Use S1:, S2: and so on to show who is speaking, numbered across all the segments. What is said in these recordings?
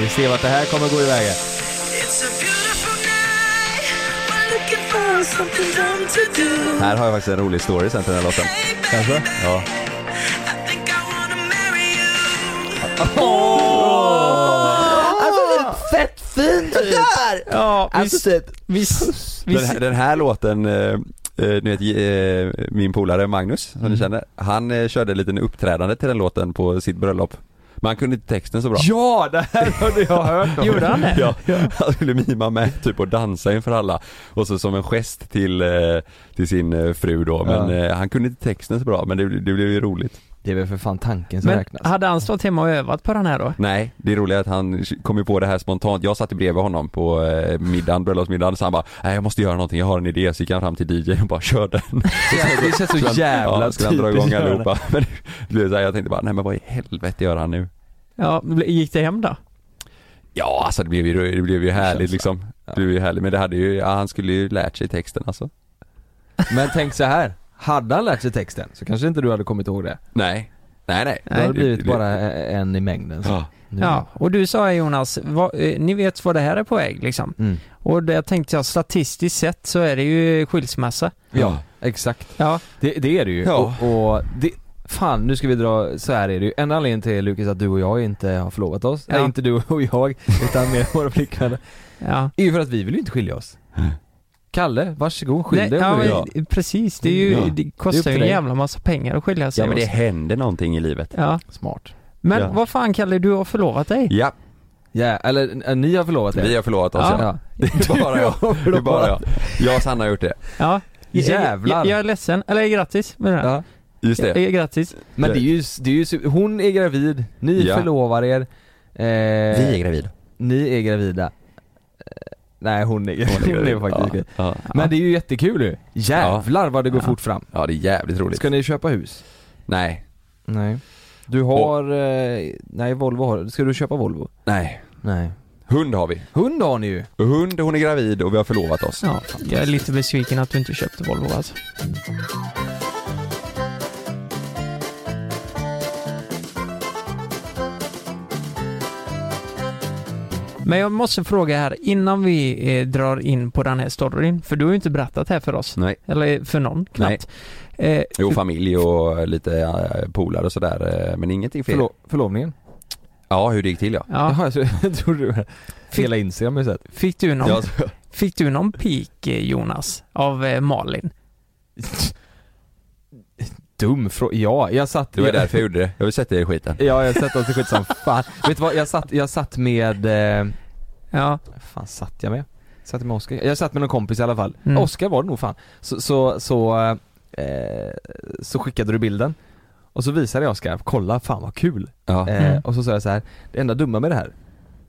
S1: Vi ser vart det här kommer gå iväg.
S2: Här har jag faktiskt en rolig story sen till den här låten.
S1: Kanske?
S2: Ja.
S3: Fett fint typ!
S1: Ja, vi,
S3: Alltså typ,
S1: vi, vi,
S2: Den här, den här låten, eh, eh, du vet eh, min polare Magnus som
S1: Mm.
S2: ni känner, han eh, körde en liten uppträdande till den låten på sitt bröllop. Men han kunde inte texten så bra.
S1: Ja, det här hade jag hört om.
S3: gjorde han det?
S2: Ja, han skulle mima med typ och dansa inför alla och så som en gest till, eh, till sin eh, fru då men
S1: Ja.
S2: eh, han kunde inte texten så bra men det, det blev ju roligt.
S3: Det är väl för fan tanken som
S1: Men
S3: räknas.
S1: hade han stått hemma och övat på den här då?
S2: Nej, det är roligt att han kom ju på det här spontant. Jag satt bredvid honom på eh, middagen, bröllopsmiddagen så han bara Nej jag måste göra någonting, jag har en idé så gick han fram till DJn och bara kör den.
S1: Det känns så
S2: ja, skulle han dra igång
S1: att göra det.
S2: allihopa. Men det blev så här, jag tänkte bara nej men vad i helvete gör han nu?
S1: Ja, gick det hem då?
S2: Ja alltså det blev ju, det blev ju härligt
S3: Känsla.
S2: liksom. Det blev ju härligt men det hade ju, ja, han skulle ju lärt sig texten alltså.
S3: Men tänk så här. hade han lärt sig texten så kanske inte du hade kommit ihåg det.
S2: Nej. Nej nej.
S3: Då hade det blivit bara eh, en i mängden. Så.
S2: Ja.
S3: Nu.
S1: Ja, och du sa Jonas, vad, eh, ni vet vad det här är på väg liksom.
S3: Mm.
S1: Och där tänkte jag statistiskt sett så är det ju skilsmässa.
S3: ja, exakt.
S1: Ja,
S3: Det, det är det ju.
S2: Ja.
S3: Och, och det, fan nu ska vi dra, så här är det ju. En anledning till Lukas att du och jag inte har förlovat oss,
S1: Ja.
S3: nej inte du och jag, utan mer våra flickvänner,
S1: ja.
S3: är ju för att vi vill ju inte skilja oss. Kalle, varsågod skilj
S1: Nej,
S3: dig
S1: ja,
S3: om du vill.
S2: ja.
S1: men eh, Precis, det, är ju,
S2: Ja.
S1: det
S3: Det är upp
S1: kostar
S3: till
S1: ju en
S3: dig.
S1: jävla massa pengar att skilja sig
S2: Ja men det
S1: också.
S2: händer någonting i livet.
S1: ja.
S3: Smart.
S1: Men
S2: Ja.
S1: vad fan Kalle, du har förlovat dig?
S2: Ja,
S3: Ja, eller eh, ni har förlovat er.
S2: vi har förlovat oss
S1: Ja.
S2: ja. Det är bara jag. Det är bara jag. Jag och Sanna har gjort det.
S1: Ja.
S3: Jävlar.
S1: Jag, jag är ledsen, eller grattis med det här.
S3: Ja.
S2: Just det.
S1: Eh, Grattis.
S3: Men det är ju, det är ju, super- hon är gravid, ni
S2: Ja.
S3: förlovar er. Eh,
S2: Vi är gravida.
S3: Ni är gravida. Eh, nej hon är, hon är, faktiskt gravid.
S2: Ja.
S3: Men det är ju jättekul ju. Jävlar vad det går fort fram.
S2: ja, det är jävligt roligt.
S3: Ska ni köpa hus?
S2: Nej,
S3: Nej. Du har, eh, nej Volvo har Ska du köpa Volvo?
S2: nej.
S3: Nej.
S2: Hund har vi.
S3: Hund har ni ju.
S2: Hund, hon är gravid och vi har förlovat oss.
S1: Ja, jag är lite besviken att du inte köpte Volvo alltså. Men jag måste fråga här innan vi eh, drar in på den här storyn, för du har ju inte berättat här för oss.
S2: Nej.
S1: Eller för någon knappt. Eh,
S2: Jo, familj och lite eh, polare och sådär. eh, Men ingenting fel.
S3: Förlo- förlovningen?
S2: Ja, hur det gick till ja.
S1: ja,
S3: Jaha, jag tror- jag tror du Hela Instagram har ju sett.
S1: fick, du någon,
S2: Ja,
S1: fick du någon peak eh, Jonas av eh, Malin?
S3: Dum fråga. Ja, jag satt
S2: det var därför jag gjorde det. Jag vill sätta er i skiten.
S3: Ja, jag har sett oss i skit som fan. Vet du vad, jag satt, jag satt med, eh,
S1: Ja,
S3: vad fan satt jag med? Satt jag med Oskar? Jag satt med någon kompis i alla fall.
S1: Mm.
S3: Oskar var det nog fan. Så, så, så, eh, så skickade du bilden. Och så visade jag Oskar, kolla fan vad kul.
S2: Ja.
S3: Eh,
S1: Mm.
S3: och så sa jag så här, det enda dumma med det här,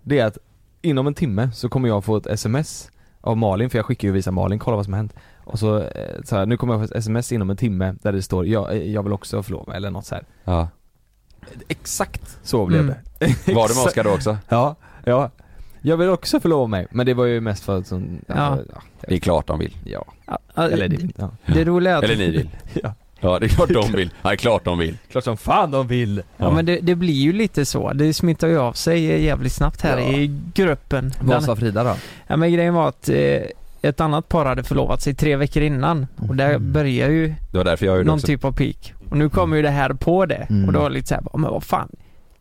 S3: det är att inom en timme så kommer jag få ett sms av Malin, för jag skickar ju och visar Malin, kolla vad som har hänt. Och så, eh, så här, nu kommer jag få ett sms inom en timme där det står, jag, jag vill också förlova mig, eller något så här.
S2: Ja.
S3: Exakt så blev
S1: Mm.
S3: det.
S2: Var du med
S3: Exakt.
S2: Oskar då också?
S3: Ja, ja. Jag vill också förlova mig, men det var ju mest för att som, ja,
S1: Ja.
S3: ja,
S2: Det är klart de vill.
S3: ja.
S1: Ja,
S3: Eller det, ja.
S1: det roliga är att
S2: Eller ni vill.
S3: ja.
S2: Ja, det är klart de vill. Ja, det är klart de vill.
S3: Klart som fan de vill!
S1: Ja, men det, det blir ju lite så. Det smittar ju av sig eh, jävligt snabbt här
S3: Ja.
S1: i gruppen.
S3: Vad
S1: Den-
S3: sa Frida då?
S1: ja, men grejen var att eh, ett annat par hade förlovat sig tre veckor innan och där
S3: Mhm.
S1: börjar ju
S2: Det var därför jag gjorde det
S1: någon
S2: också.
S1: typ av peak. Och nu kommer ju det här på det
S3: Mm.
S1: och då var det lite såhär, men vad fan.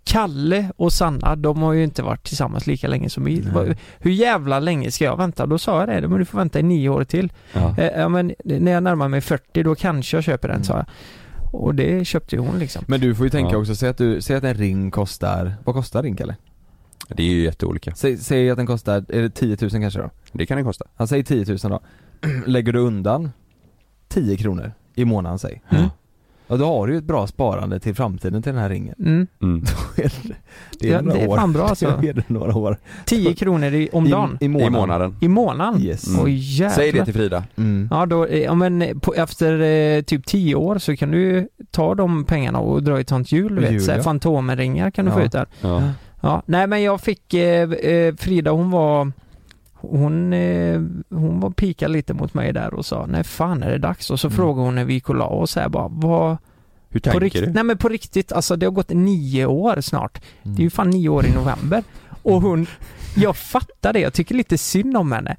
S1: Kalle och Sanna, de har ju inte varit tillsammans lika länge som vi.
S3: Nej.
S1: Vad- Hur jävla länge ska jag vänta? Då sa jag det, men du får vänta i nio år till.
S2: Ja.
S1: Eh, ja, men när jag närmar mig 40, då kanske jag köper den,
S3: Mm.
S1: sa jag. Och det köpte ju hon liksom.
S3: Men du får ju tänka
S2: Ja.
S3: också, säg att, du, säg att en ring kostar, vad kostar en ring Kalle?
S2: Det är ju jätteolika.
S3: Säg, säg att den kostar, är det 10 000 kanske då?
S2: Det kan det kosta.
S3: Han säger 10 000 då. Lägger du undan 10 kronor i månaden säg.
S2: Mm.
S3: Ja då har du ju ett bra sparande till framtiden till den här ringen.
S1: Mm.
S2: Mm.
S3: Det är
S1: Ja,
S3: några
S1: det är
S3: år.
S1: fan bra alltså.
S3: Det är några år.
S1: 10 kronor i, om dagen?
S3: I, i
S2: I
S3: månaden.
S2: månaden.
S1: I månaden? Mm.
S3: Yes.
S1: Oj
S2: Säg det
S1: jävlar.
S2: till Frida.
S3: Mm.
S1: Ja, då, eh, ja men eh, på, efter eh, typ 10 år så kan du ju ta de pengarna och dra i ett sånt hjul, du
S3: Hjul,
S1: vet. Så här
S3: ja.
S1: Fantomenringar kan du
S3: Ja.
S1: få ut där.
S2: Ja.
S1: Ja, nej men jag fick, eh, eh, Frida hon var hon, eh, hon var pika lite mot mig där och sa nej fan är det dags? Och så
S3: Mm.
S1: frågade hon när vi gick och la oss här bara vad...
S2: Hur
S1: På
S2: tänker
S1: riktigt,
S2: du?
S1: nej men på riktigt alltså det har gått nio år snart. Det är ju fan nio år i november. Och hon, jag fattar det, jag tycker lite synd om henne.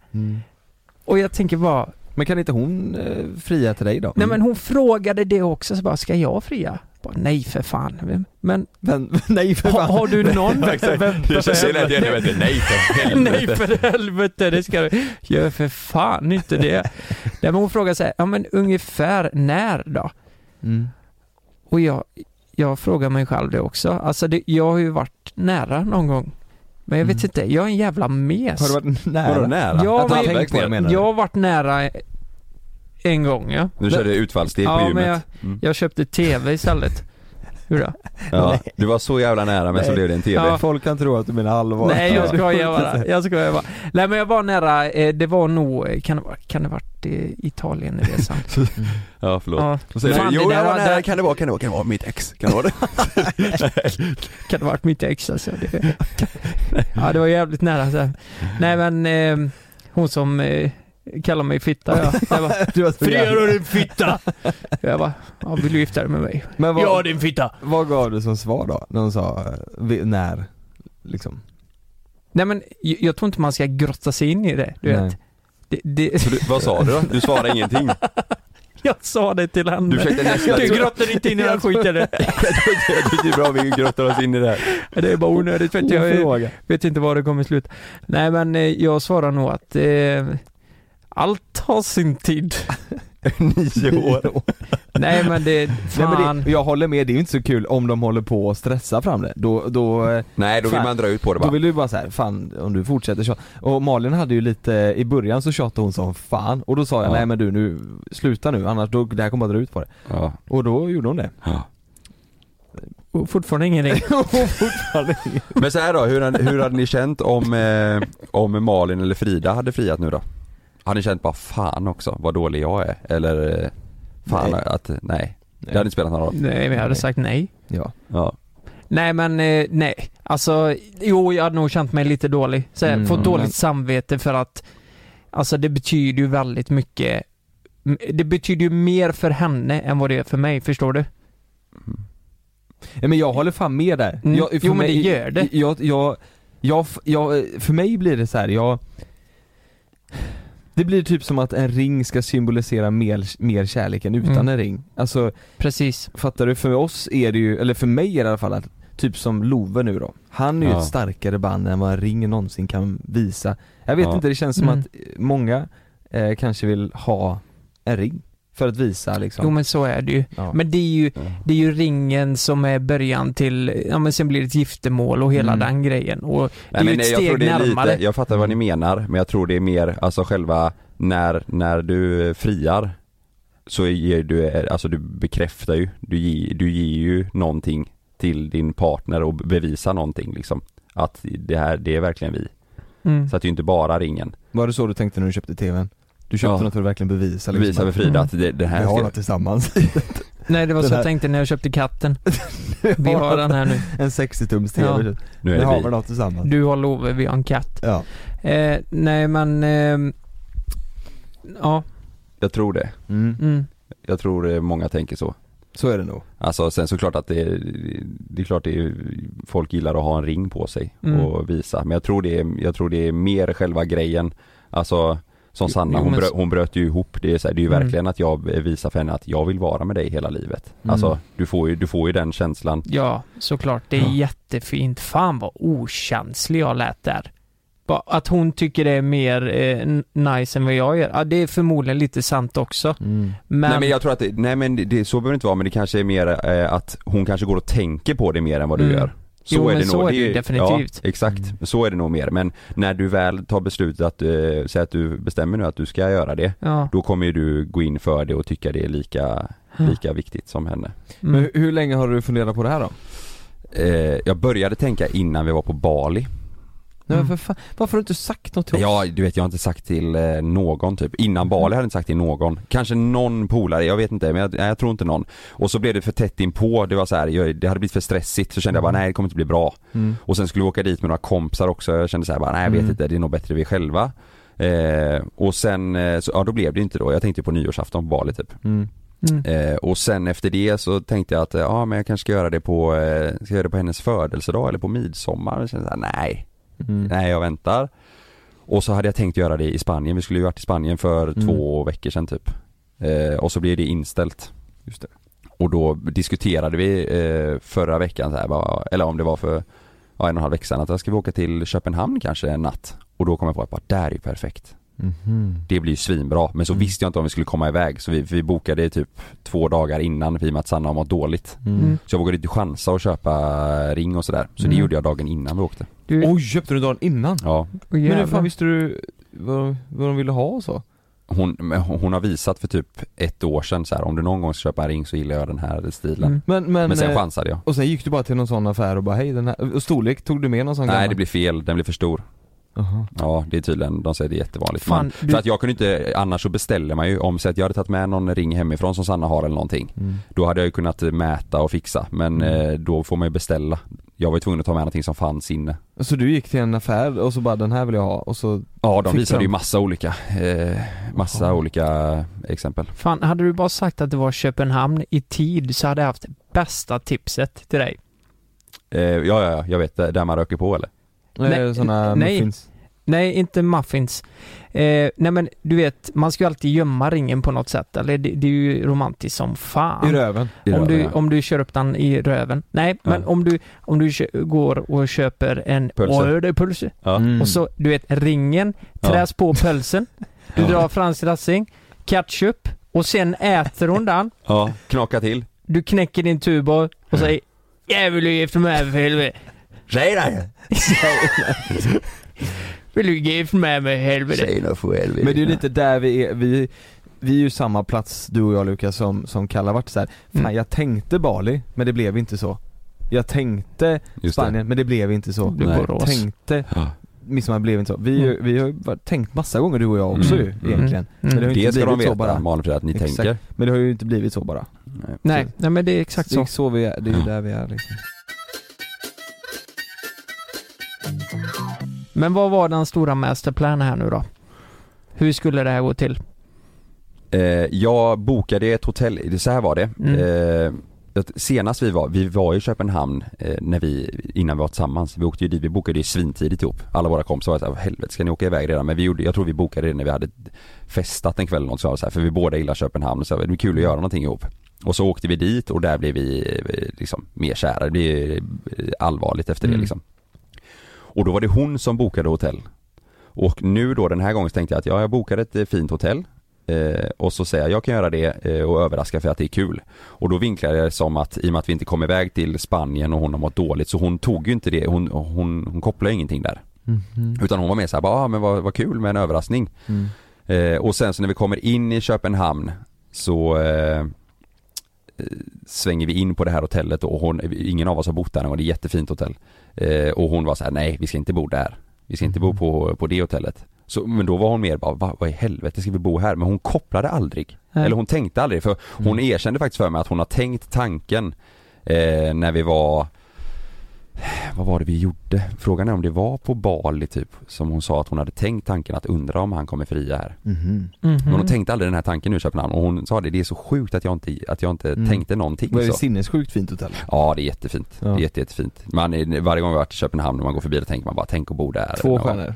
S1: Och jag tänker bara,
S3: Mm. Men kan inte hon eh, fria till dig då?
S1: nej men hon frågade det också, så bara, ska jag fria? Bara, nej för fan. Vem- Men
S3: Vem, nej för
S1: har,
S3: fan.
S1: har du någon?
S2: Det känns ju lätt igen, jag vet inte. nej för
S1: nej
S2: helvete.
S1: för helvete, det ska du. Gör för fan inte det. Nej men hon frågar så här, ja men ungefär när då?
S3: Mm.
S1: Och jag, jag frågar mig själv det också. Alltså det, jag har ju varit nära någon gång. Men jag vet
S3: Mm.
S1: inte, jag är en jävla mes.
S3: Har du varit nära?
S2: Vadå nära?
S1: Ja,
S3: Att du har
S1: men-
S3: tänkt på det menar du?
S1: Jag har varit nära en gång ja.
S2: Nu körde jag utfallssteg på
S1: Ja, men
S2: gymmet. Mm.
S1: Jag köpte TV istället. Hur då?
S2: Ja, du var så jävla nära men så
S3: Nej.
S2: blev det en TV.
S1: Ja.
S3: Folk kan tro att du menar allvar.
S1: Nej jag skojar bara. Jag skojar bara. Nej men jag var nära, eh, det var nog, eh, kan det, vara- kan det varit eh, Italien i resan?
S2: Ja, förlåt.
S1: Ja.
S2: Och säger
S1: Fan,
S2: du, jo
S1: det där
S2: jag var
S1: var-
S2: nära,
S1: där-
S2: kan det vara, kan det vara, kan det vara mitt ex? Kan det vara det?
S1: Kan det varit mitt ex alltså. Det, ja det var jävligt nära så här. Nej men eh, hon som eh, kallar mig fitta ja. Jag bara,
S3: Du var så jävla-
S1: du din fitta! Jag bara, ja, vill du gifta dig med mig?
S3: Men vad,
S1: din fitta!
S3: vad gav du som svar då? När hon sa, eh, vi- när? Liksom.
S1: Nej men jag, jag tror inte man ska grotta sig in i det, du vet.
S3: Nej.
S1: Det, det,
S2: Så du, vad sa du då? Du svarade ingenting.
S1: jag sa det till henne.
S2: Du försökte nästan...
S1: Du grottar inte in i den skiten.
S2: Jag tycker det är bra om vi grottar oss in i det här.
S1: Det är bara onödigt för att jag
S3: Ofråga.
S1: vet inte var det kommer sluta. Nej men eh, jag svarar nog att eh, allt har sin tid.
S2: Nio år.
S1: Nej men det,
S3: Nej,
S1: fan.
S3: men det, jag håller med, det är ju inte så kul om de håller på och stressar fram det. Då, då, eh,
S2: Nej, då vill
S3: Fan.
S2: man dra ut på det
S3: då
S2: bara.
S3: vill du bara säga fan om du fortsätter tjata. Och Malin hade ju lite, i början så tjatade hon som fan och då sa jag
S2: Ja.
S3: nej men du nu, sluta nu annars då, det här kommer bara dra ut på det.
S2: Ja.
S3: Och då gjorde hon det.
S2: Ja.
S1: Och Fortfarande ingen ring.
S3: Och fortfarande ingen-
S2: Men så här då, hur hade, hur hade ni känt om, eh, om Malin eller Frida hade friat nu då? Hade ni känt bara fan också, vad dålig jag är? Eller eh, fan
S3: Nej.
S2: att, nej. Det hade inte spelat någon roll.
S1: Nej men jag hade
S3: Nej.
S1: sagt nej.
S3: Ja.
S2: Ja.
S1: Nej men eh, nej, alltså jo jag hade nog känt mig lite dålig. Så,
S3: Mm.
S1: fått
S3: Men-
S1: dåligt samvete för att Alltså det betyder ju väldigt mycket M- Det betyder ju mer för henne än vad det är för mig, förstår du?
S3: Nej, men jag håller fan med där.
S1: Mm.
S3: Jag, för
S1: Jo, men det gör det.
S3: Jag, jag, jag, jag, för mig blir det så här, jag det blir typ som att en ring ska symbolisera mer, mer kärlek än utan
S1: Mm.
S3: en ring. Alltså,
S1: Precis.
S3: Fattar du? För oss är det ju, eller för mig är det i alla fall att, typ som Love nu då. Han är ju
S2: Ja.
S3: ett starkare band än vad en ring någonsin kan visa. Jag vet
S2: Ja.
S3: inte, det känns som
S1: Mm.
S3: att eh, många eh, kanske vill ha en ring. För att visa liksom.
S1: Jo men så är det ju.
S3: ja.
S1: Men det är ju, det är ju ringen som är början till, ja men sen blir det ett giftermål och hela
S3: Mm.
S1: den grejen. Och det
S2: Nej,
S1: är ju
S2: men
S1: ett
S2: nej, jag
S1: steg
S2: tror det är
S1: närmare. Mm.
S2: lite, jag fattar vad ni menar, men jag tror det är mer, alltså själva när, när du eh, friar så ger du, eh, alltså du bekräftar ju, du, ge, du ger ju någonting till din partner och bevisar någonting liksom. Att det här, det är verkligen vi.
S1: mm.
S2: Så att det är ju inte bara ringen.
S3: Var det så du tänkte när du köpte tvn? Du köpte
S2: Ja.
S3: något för att verkligen bevisa liksom,
S2: Bevisa
S3: att
S2: för Frida
S1: Mm.
S2: att det, det
S3: vi
S2: här
S3: har
S2: ska,
S3: något tillsammans.
S1: Nej det var
S3: Den
S1: så
S3: här-
S1: jag tänkte när jag köpte katten. Vi har den här nu.
S3: En 60-tums
S1: Ja.
S3: tv.
S2: nu
S3: Vi
S2: är
S3: har
S2: det
S3: väl
S2: vi.
S3: något tillsammans.
S1: Du har Love, vi har en katt.
S3: Ja.
S1: Eh, nej men, ehm, ja,
S2: Jag tror det.
S3: Mm.
S1: mm.
S2: Jag tror eh, många tänker så.
S3: Så är det nog.
S2: Alltså sen såklart att det, det är klart det är, folk gillar att ha en ring på sig
S1: Mm.
S2: och visa. Men jag tror, det är, jag tror det är mer själva grejen. Alltså som Sanna,
S1: jo,
S2: hon,
S1: men-
S2: brö, hon bröt ju ihop. Det är, så här, det är ju
S1: Mm.
S2: verkligen att jag visar för henne att jag vill vara med dig hela livet.
S3: Mm.
S2: Alltså du får, ju, du får ju den känslan.
S1: ja såklart. Det är
S2: Ja.
S1: jättefint. Fan vad okänslig jag lät där. Bara Att hon tycker det är mer eh, n- nice än vad jag gör. Ja, det är förmodligen lite sant också.
S3: Mm.
S1: Men,
S2: Nej men jag tror att, det, nej men det, det, så behöver det inte vara men det kanske är mer eh, att hon kanske går och tänker på det mer än vad du
S1: Mm.
S2: gör. Så
S1: Jo,
S2: är
S1: men
S2: det
S1: så
S2: nog.
S1: är det ju definitivt.
S2: Ja, exakt,
S3: Mm.
S2: så är det nog mer. Men när du väl tar beslutet att, eh, säg att du bestämmer nu att du ska göra det.
S1: ja. mm,
S2: då kommer ju du gå in för det och tycka det är lika, lika viktigt som henne.
S3: Men
S1: Mm.
S3: hur, hur länge har du funderat på det här då?
S2: Eh, jag började tänka innan vi var på Bali.
S3: Nej,
S1: Mm.
S3: men för fan, varför har du inte sagt något till oss?
S2: Ja, du vet jag har inte sagt till eh, någon typ. Innan Bali hade jag inte sagt till någon. Kanske någon polare, jag vet inte men jag, nej, jag tror inte någon. Och så blev det för tätt inpå, det var så här, jag, det hade blivit för stressigt så kände jag bara nej det kommer inte bli bra.
S3: Mm.
S2: Och sen skulle vi åka dit med några kompisar också, jag kände så här bara nej jag vet
S3: Mm.
S2: inte, det är nog bättre vi själva. Eh, och sen, eh, så, ja då blev det inte då. Jag tänkte på nyårsafton på Bali typ.
S3: Mm.
S1: Mm.
S2: Eh, och sen efter det så tänkte jag att, eh, ja men jag kanske ska göra det på, eh, ska göra det på hennes födelsedag eller på midsommar. Och sen så här, nej,
S3: Mm.
S2: Nej jag väntar Och så hade jag tänkt göra det i Spanien, vi skulle ju varit i Spanien för
S3: Mm.
S2: två veckor sedan typ eh, Och så blev det inställt
S3: Just det.
S2: Och då diskuterade vi eh, förra veckan så här, bara, eller om det var för ja, en och en halv vecka sedan, att jag ska vi åka till Köpenhamn kanske en natt Och då kom jag på att bara, där är ju perfekt
S3: Mhm.
S2: Det blir ju svinbra, men så
S3: Mm.
S2: visste jag inte om vi skulle komma iväg så vi, vi bokade typ två dagar innan i och med att Sanna har mått dåligt
S1: Mm.
S2: Så jag vågade inte chansa och köpa ring och sådär, så det
S1: Mm.
S2: gjorde jag dagen innan vi åkte
S1: Du,
S3: Oj, köpte du dagen innan?
S2: Ja
S1: åh,
S3: Men hur
S1: jävlar.
S3: fan visste du vad, vad de ville ha och så?
S2: hon, men hon hon har visat för typ ett år sedan så här, om du någon gång ska köpa en ring så gillar jag den här stilen.
S1: Mm.
S3: Men, men,
S2: Men sen
S3: eh,
S2: chansade jag.
S3: och sen gick du bara till någon sån affär och bara hej den här, och storlek, tog du med någon sån
S2: Nej
S3: gammal?
S2: det blir fel, den blir för stor.
S3: Jaha.
S2: Ja det är tydligen, de säger det är jättevanligt.
S1: Fan,
S2: Men,
S1: du-
S2: För att jag kunde inte, annars så beställer man ju om, så att jag hade tagit med någon ring hemifrån som Sanna har eller någonting.
S3: Mm.
S2: Då hade jag ju kunnat eh, mäta och fixa men
S3: Mm.
S2: eh, då får man ju beställa. Jag var ju tvungen att ta med någonting som fanns inne.
S3: Så du gick till en affär och så bara den här vill jag ha och så
S2: Ja de
S3: Fick
S2: visade
S3: de?
S2: ju massa olika, eh, massa
S3: Jaha.
S2: olika eh, exempel.
S1: Fan, hade du bara sagt att det var Köpenhamn i tid så hade jag haft bästa tipset till dig.
S2: Eh, ja, ja, ja, jag vet, där där man röker på eller?
S1: Nej,
S3: Nej, såna
S1: nej.
S3: muffins.
S1: Nej, inte muffins. Eh, nej men du vet, man ska ju alltid gömma ringen på något sätt. Eller det, det är ju romantiskt som fan.
S3: I röven.
S2: I
S1: om,
S2: röven,
S1: du,
S2: ja.
S1: om du kör upp den i röven. Nej,
S2: Ja.
S1: men om du, om du kö- går och köper en
S2: Pölse.
S1: Pölse.
S2: Ja.
S3: Mm.
S1: Och så, du vet, ringen
S2: Ja.
S1: träs på pölsen. Du
S2: Ja.
S1: drar fransk dressing, ketchup och sen äter hon den.
S2: Ja, knaka till.
S1: Du knäcker din tuba och säger Jag vill ju gifta mig för helvete.
S2: Säg det!
S1: Vill du gifta mig med helvete?
S2: nu för helvete.
S3: Men det är ju lite där vi är, vi, vi är ju samma plats du och jag Lukas som, som Kalle har varit så här. fan
S1: Mm.
S3: jag tänkte Bali, men det blev inte så. Jag tänkte
S2: Just det.
S3: Spanien, men det blev inte så.
S1: Du
S2: Nej.
S1: Borås.
S3: Tänkte
S2: Ja.
S3: midsommar blev inte så.
S1: Mm.
S3: Vi, är ju- vi har ju bara tänkt massa gånger du och jag också
S2: Mm.
S3: ju
S2: Mm.
S3: egentligen. Men det har
S1: Mm.
S3: ju
S2: Det
S3: inte
S2: ska de
S3: blivit så
S2: veta,
S3: bara.
S2: Malin Frida, att ni
S3: Exakt.
S2: tänker.
S3: Men det har ju inte blivit så bara.
S1: Nej, nej men det är exakt
S3: Det är
S1: så.
S3: så vi är, det är ju där vi är liksom.
S1: Men vad var den stora masterplanen här nu då? Hur skulle det här gå till?
S2: Eh, jag bokade ett hotell, så här var det.
S1: Mm.
S2: Eh, att senast vi var, vi var i Köpenhamn eh, när vi, innan vi var tillsammans. Vi åkte ju dit, vi bokade ju svintidigt ihop. Alla våra kompisar var såhär, helvete ska ni åka iväg redan? Men vi gjorde, jag tror vi bokade det när vi hade festat en kväll eller något sånt så här, för vi båda gillar Köpenhamn och så här, det är kul att göra någonting ihop. Och så åkte vi dit och där blev vi eh, liksom mer kära, det blev eh, allvarligt efter det
S3: Mm.
S2: liksom. Och då var det hon som bokade hotell. Och nu då den här gången så tänkte jag att ja, jag bokade ett eh, fint hotell eh, och så säger jag, jag kan göra det eh, och överraska för att det är kul. Och då vinklar jag det som att i och med att vi inte kom iväg till Spanien och hon har mått dåligt så hon tog ju inte det, hon, hon, hon kopplade ingenting där.
S1: Mm-hmm.
S2: Utan hon var mer såhär, bara, ah, men vad, vad kul med en överraskning.
S3: Mm.
S2: Eh, och sen så när vi kommer in i Köpenhamn så eh, eh, svänger vi in på det här hotellet och hon, ingen av oss har bott där någon gång, det är ett jättefint hotell. Eh, och hon var så här: nej vi ska inte bo där. Vi ska inte bo på, på det hotellet. Så, men då var hon mer bara, "Va- vad i helvete ska vi bo här? Men hon kopplade aldrig.
S1: Nej.
S2: Eller hon tänkte aldrig för hon
S3: Mm.
S2: erkände faktiskt för mig att hon har tänkt tanken eh, när vi var vad var det vi gjorde? Frågan är om det var på Bali typ som hon sa att hon hade tänkt tanken att undra om han kommer fria här.
S3: Mhm.
S1: Mhm.
S2: Men hon tänkte aldrig den här tanken nu i Köpenhamn och hon sa det, det är så sjukt att jag inte, att jag inte
S3: Mm.
S2: tänkte någonting.
S3: Vad är det
S2: så.
S3: sinnessjukt fint hotell?
S2: Ja det är jättefint,
S3: Ja.
S2: det är jätte, jättefint. Man, är- varje gång vi har varit i Köpenhamn och man går förbi och tänker man bara tänk att bo där.
S3: Två
S2: Ja.
S3: stjärnor.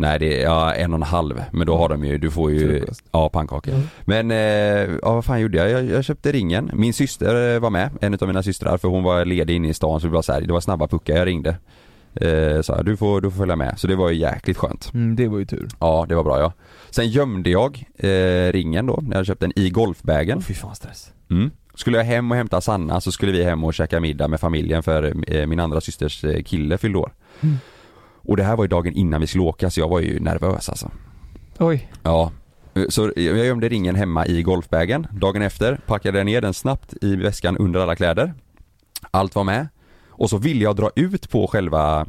S2: Nej det är ja, en och en halv, men då har de ju, du får ju,
S3: Frukost.
S2: ja pannkakor.
S1: Mm.
S2: Men, eh, ja vad fan gjorde jag? jag? Jag köpte ringen, min syster eh, var med, en av mina systrar för hon var ledig inne i stan så det var så här, det var snabba puckar, jag ringde. Eh, så här, du får, du får följa med, så det var ju jäkligt skönt.
S3: Mm, det var ju tur.
S2: Ja det var bra ja. Sen gömde jag eh, ringen då, när jag köpte den i golfbagen.
S3: Åh, Fy fan stress.
S2: Mm. Skulle jag hem och hämta Sanna så skulle vi hem och käka middag med familjen för eh, min andra systers eh, kille fyllde år.
S1: Mm.
S2: Och det här var ju dagen innan vi skulle åka så jag var ju nervös alltså.
S1: Oj.
S2: Ja. Så eh, jag gömde ringen hemma i golfbagen. Dagen efter packade jag ner den snabbt i väskan under alla kläder. Allt var med. Och så ville jag dra ut på själva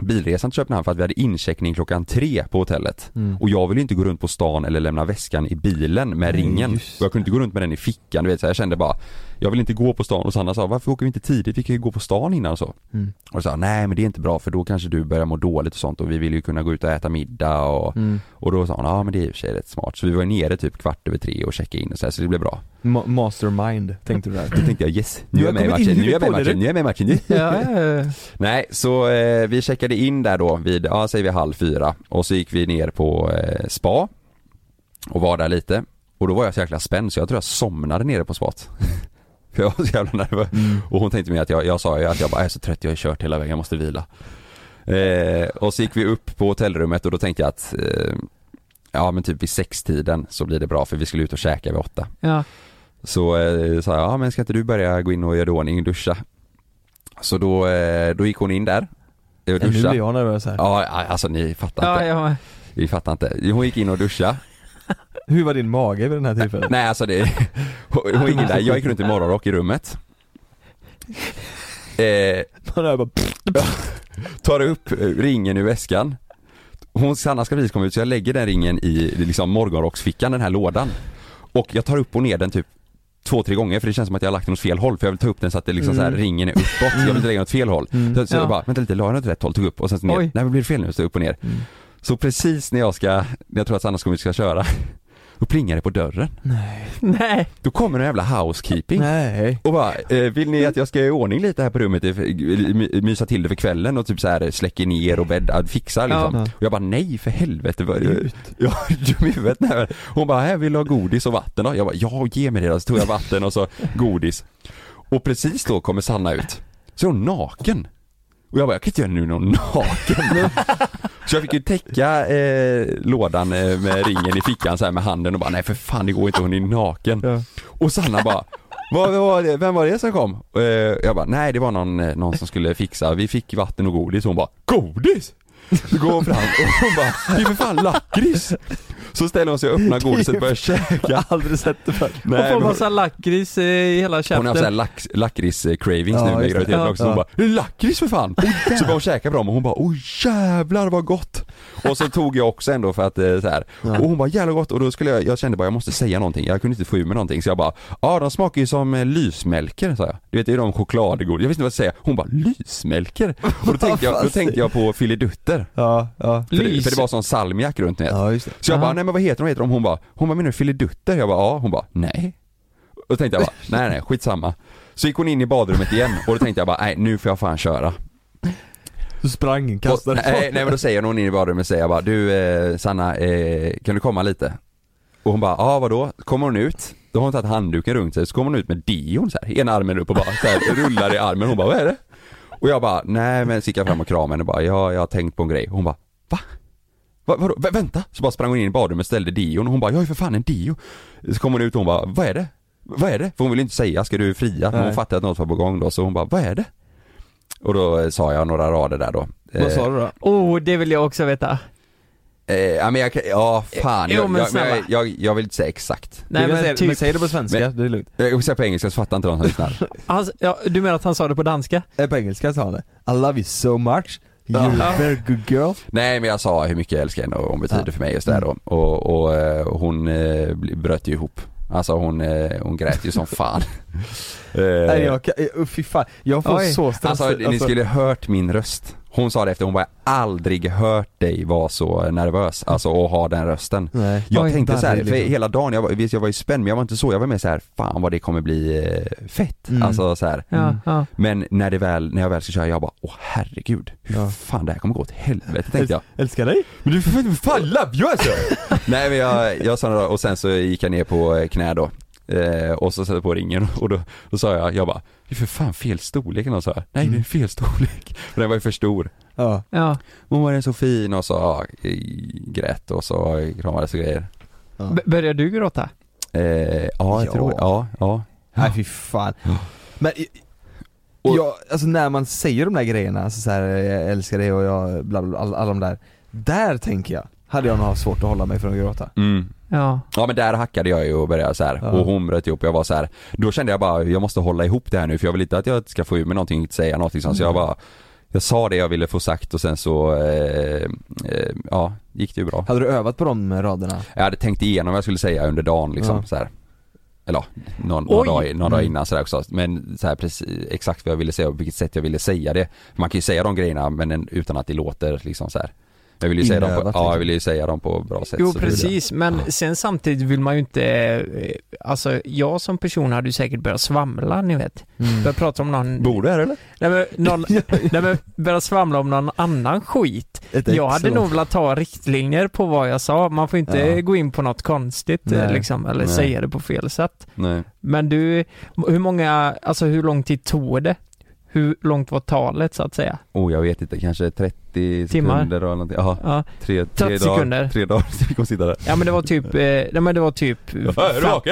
S2: bilresan till Köpenhamn för att vi hade incheckning klockan tre på hotellet.
S3: Mm.
S2: Och jag ville inte gå runt på stan eller lämna väskan i bilen med
S3: Nej,
S2: ringen.
S3: just
S2: Och jag kunde inte gå runt med den i fickan, du vet. Så jag kände bara, Jag vill inte gå på stan och Sanna sa varför åker vi inte tidigt? Vi kan ju gå på stan innan och så
S3: Mm.
S2: Och så sa nej men det är inte bra för då kanske du börjar må dåligt och sånt och vi vill ju kunna gå ut och äta middag och
S3: Mm.
S2: Och då sa hon, ja men det är i och för sig rätt smart. Så vi var nere typ kvart över tre och checkade in och så, här, så det blev bra.
S3: Ma- mastermind tänkte du där.
S2: Då tänkte jag yes, nu är
S3: Jag
S2: jag med i
S3: kommer
S2: matchen,
S3: in i
S2: nu är jag med i
S3: det på
S2: matchen, nu är jag med i matchen.
S1: Ja, ja,
S2: Nej, så eh, vi checkade in där då vid, ja säger vi halv fyra och så gick vi ner på eh, spa och var där lite och då var jag så jäkla spänd så jag tror jag somnade nere på spat. För jag var så jävla nervös.
S3: Mm.
S2: Och hon tänkte mig att jag, jag sa ju att jag bara, jag är så trött, jag har kört hela vägen, jag måste vila. Eh, och så gick vi upp på hotellrummet och då tänkte jag att eh, ja men typ vid sextiden så blir det bra för vi skulle ut och käka vid åtta.
S1: ja.
S2: Så eh, sa jag, ja men ska inte du börja gå in och göra i ordning, duscha? Så då, eh, då gick hon in där eh, och
S3: Ja, nu
S2: duscha.
S3: blir
S2: Ja,
S3: jag nervös här.
S2: alltså ni fattar
S1: ja,
S2: inte.
S1: ja.
S2: Ni fattar inte. Hon gick in och duscha.
S3: Hur var din mage vid den här tillfället?
S2: Nej alltså det, hon hon gick in där, jag gick runt i morgonrock i rummet. Eh,
S3: Man hör bara, pff,
S2: tar upp eh, ringen ur väskan. Hon, Sanna ska precis komma ut så jag lägger den ringen i liksom morgonrocksfickan, den här lådan. Och jag tar upp och ner den typ två, tre gånger för det känns som att jag har lagt den åt fel håll för jag vill ta upp den så att det liksom så här,
S1: Mm.
S2: ringen är uppåt, jag vill inte lägga den åt fel håll.
S3: Mm.
S2: Så, så
S1: Ja.
S2: jag bara, vänta lite, la jag den åt rätt håll, tog upp och sen så ner.
S1: Oj.
S2: Nej men blir det fel nu, så upp och ner.
S3: Mm.
S2: Så precis när jag ska, när jag tror att Sanna ska komma ut och ska köra, då plingar det på dörren.
S3: nej.
S1: Nej.
S2: Då kommer en jävla housekeeping.
S3: Nej.
S2: Och bara, eh, vill ni att jag ska göra i ordning lite här på rummet, eh, my- mysa till det för kvällen och typ så här släcker ner och bäddar, fixar liksom.
S3: Ja.
S2: Och jag bara nej för helvete vad jag är dum i huvudet när jag- Hon bara, här vill du ha godis och vatten då? Jag bara, ja ge mig det då. Så tog jag vatten och så godis. Och precis då kommer Sanna ut. Så är hon naken. Och jag bara, jag kan inte göra nu någon naken. Så jag fick ju täcka eh, lådan eh, med ringen i fickan så här med handen och bara, nej för fan det går inte, hon är naken.
S3: Ja.
S2: Och Sanna bara vad, vad var det? Vem var det som kom? Eh, jag bara, nej det var någon, eh, någon som skulle fixa, vi fick vatten och godis hon bara, godis? Då går hon fram och hon bara, det är för fan lakrits! Så ställer hon sig och öppnar godiset och börjar
S3: Jag
S2: käka
S3: har aldrig sett det förr.
S1: Och
S2: Nej,
S1: får
S2: men hon,
S1: massa lakrits eh, i
S2: hon
S1: hela
S2: har haft såhär
S1: käften.
S2: lax, lakrits-cravings
S3: Ja,
S2: nu med
S3: just det.
S2: graviditeten
S1: Ja.
S2: också, så hon
S3: Ja.
S2: bara, lakrits för fan! Så börjar hon käka på dem och hon bara, oj jävlar vad gott! Och så tog jag också ändå för att eh, så här.
S3: Ja.
S2: och hon bara jävla gott och då skulle jag, jag kände bara jag måste säga någonting, jag kunde inte få ur mig någonting så jag bara Ja de smakar ju som eh, lysmälker sa jag, du vet det är de chokladgodis, jag visste inte vad jag skulle säga, hon bara lysmälker! Och då tänkte jag, då tänkte jag på filidutter,
S3: Ja, ja.
S2: för det, för det
S1: Lys.
S2: var sån salmiak runt ner.
S3: Ja, just det.
S2: Så jag
S1: Ja.
S2: bara, nej men vad heter de, vad heter de? Hon bara, hon bara menar du filidutter? Jag bara, ja, hon bara, nej. Och då tänkte jag bara, nej nej skitsamma. Så gick hon in i badrummet igen och då tänkte jag bara, nej nu får jag fan köra.
S3: Du sprang, kastade
S2: och, nej, nej men då säger hon in i badrummet och säger jag bara, du eh, Sanna, eh, kan du komma lite? Och hon bara, ja ah, vadå? Kommer hon ut, då har hon tagit handduken runt sig, så kommer hon ut med dion så här, ena armen upp och bara så här, rullar i armen, hon bara, vad är det? Och jag bara, nej men så gick jag fram och kramade henne och bara, ja jag har tänkt på en grej. Och hon bara, va? Va, vadå? Vä- vänta! Så bara sprang hon in i badrummet och ställde dion och hon bara, jag är för fan en dio. Så kom hon ut och hon bara, vad är det? Vad är det? För hon ville inte säga, ska du fria? Men hon
S3: Nej.
S2: fattade att något var på gång då, så hon bara, vad är det? Och då eh, sa jag några rader där då.
S3: Vad sa du då?
S1: Oh, det vill jag också veta.
S2: Eh, ja men jag kan, ja fan,
S1: Jo,
S2: jag,
S1: men
S2: jag, men jag,
S1: snälla.
S2: jag, jag vill inte säga exakt.
S1: Nej
S3: Du kan
S1: men
S3: säga,
S1: typ,
S3: säg det på svenska, det är lugnt.
S2: Jag vill säga på engelska så fattar inte de som lyssnar.
S1: han, Alltså, ja, du menar att han sa det på danska?
S3: Eh, På engelska sa han det. I love you so much, you're a very good girl.
S2: Nej men jag sa hur mycket jag älskar henne och hon betyder
S3: Ja.
S2: för mig just där då. Och, och, eh, hon eh, bl- bröt ju ihop. Alltså hon, eh, hon grät ju som fan. Eh,
S3: Nej jag kan, eh, fy fan. Jag får
S1: Oj.
S3: så stress.
S2: alltså, ni skulle hört min röst. Hon sa det efter, hon bara "Jag har aldrig hört dig vara så nervös, alltså och ha den rösten.
S3: Nej.
S2: Jag
S1: Oj,
S2: tänkte så här,
S3: darrig
S2: för
S3: liksom.
S2: hela dagen, jag var, visst jag var ju spänd men jag var inte så, jag var mer så här, fan vad det kommer bli eh, fett.
S3: Mm.
S2: Alltså så här.
S1: Ja,
S3: Mm.
S1: ja.
S2: Men när, det väl, när jag väl ska köra, jag bara åh herregud, hur
S3: Ja.
S2: fan det här kommer gå åt helvete tänkte jag.
S3: Älskar dig.
S2: Men du får fan love you alltså! Nej men jag, jag sa några och sen så gick jag ner på eh, knä då. Eh, och så satte jag på ringen och då, då sa jag, jag bara, det är för fan fel storlek eller något så här. Nej det är fel storlek. För den var ju för stor.
S3: Ja.
S1: ja.
S2: Hon var den så fin och så ja, eh, grät och så kramades och grejer.
S1: B- börjar du gråta?
S2: Eh, ja, jag
S3: Ja.
S2: tror, ja, ja.
S3: Nej fy fan. Men i-
S2: Och-
S3: jag, alltså när man säger de där grejerna, alltså så här, jag älskar dig och jag, bla, bla, alla, alla de där. Där tänker jag, hade jag nog haft svårt att hålla mig från att gråta.
S2: Mm.
S1: Ja.
S2: Ja men där hackade jag ju och började så här
S3: Ja.
S2: och hon bröt ihop och jag var så här. Då kände jag bara, jag måste hålla ihop det här nu för jag vill inte att jag ska få ur mig någonting, inte säga någonting
S3: Mm.
S2: sånt. Så jag bara, jag sa det jag ville få sagt och sen så, eh, eh, ja, gick det ju bra.
S3: Hade du övat på de raderna?
S2: Jag hade tänkt igenom vad jag skulle säga under dagen liksom
S3: Ja.
S2: så här. eller ja, någon, några
S1: Oj!
S2: dagar, några dagar
S3: Mm.
S2: innan sådär också. Men så här, precis, exakt vad jag ville säga och på vilket sätt jag ville säga det. Man kan ju säga de grejerna men en- utan att det låter liksom så här. Jag vill ju säga, dem på,
S3: Inövat,
S2: ja, jag
S3: liksom.
S2: vill ju säga dem på bra sätt.
S1: Jo
S2: så det är
S1: precis, men sen samtidigt vill man ju inte, eh, alltså jag som person hade ju säkert börjat svamla ni vet.
S3: Mm.
S1: Börja prata om någon,
S2: det. Bor du här eller?
S1: nej men, någon, nej men börja svamla om någon annan skit.
S3: Ett
S1: Jag
S3: ex
S1: hade
S3: eller
S1: nog velat ta riktlinjer på vad jag sa, man får inte
S2: Ja.
S1: gå in på något konstigt eh,
S3: Nej.
S1: liksom, eller
S2: Nej.
S1: säga det på fel sätt.
S2: Nej.
S1: Men du, hur många, alltså hur lång tid tog det? Hur långt var talet så att säga?
S2: Oh jag vet inte, kanske 30
S1: Timmar.
S2: sekunder eller någonting. Jaha,
S1: Ja,
S2: tre, tre
S1: 30 sekunder.
S2: dagar. Tre dagar så vi kommer sitta där.
S1: ja men det var typ, eh, nej men det var typ fem,
S2: eller?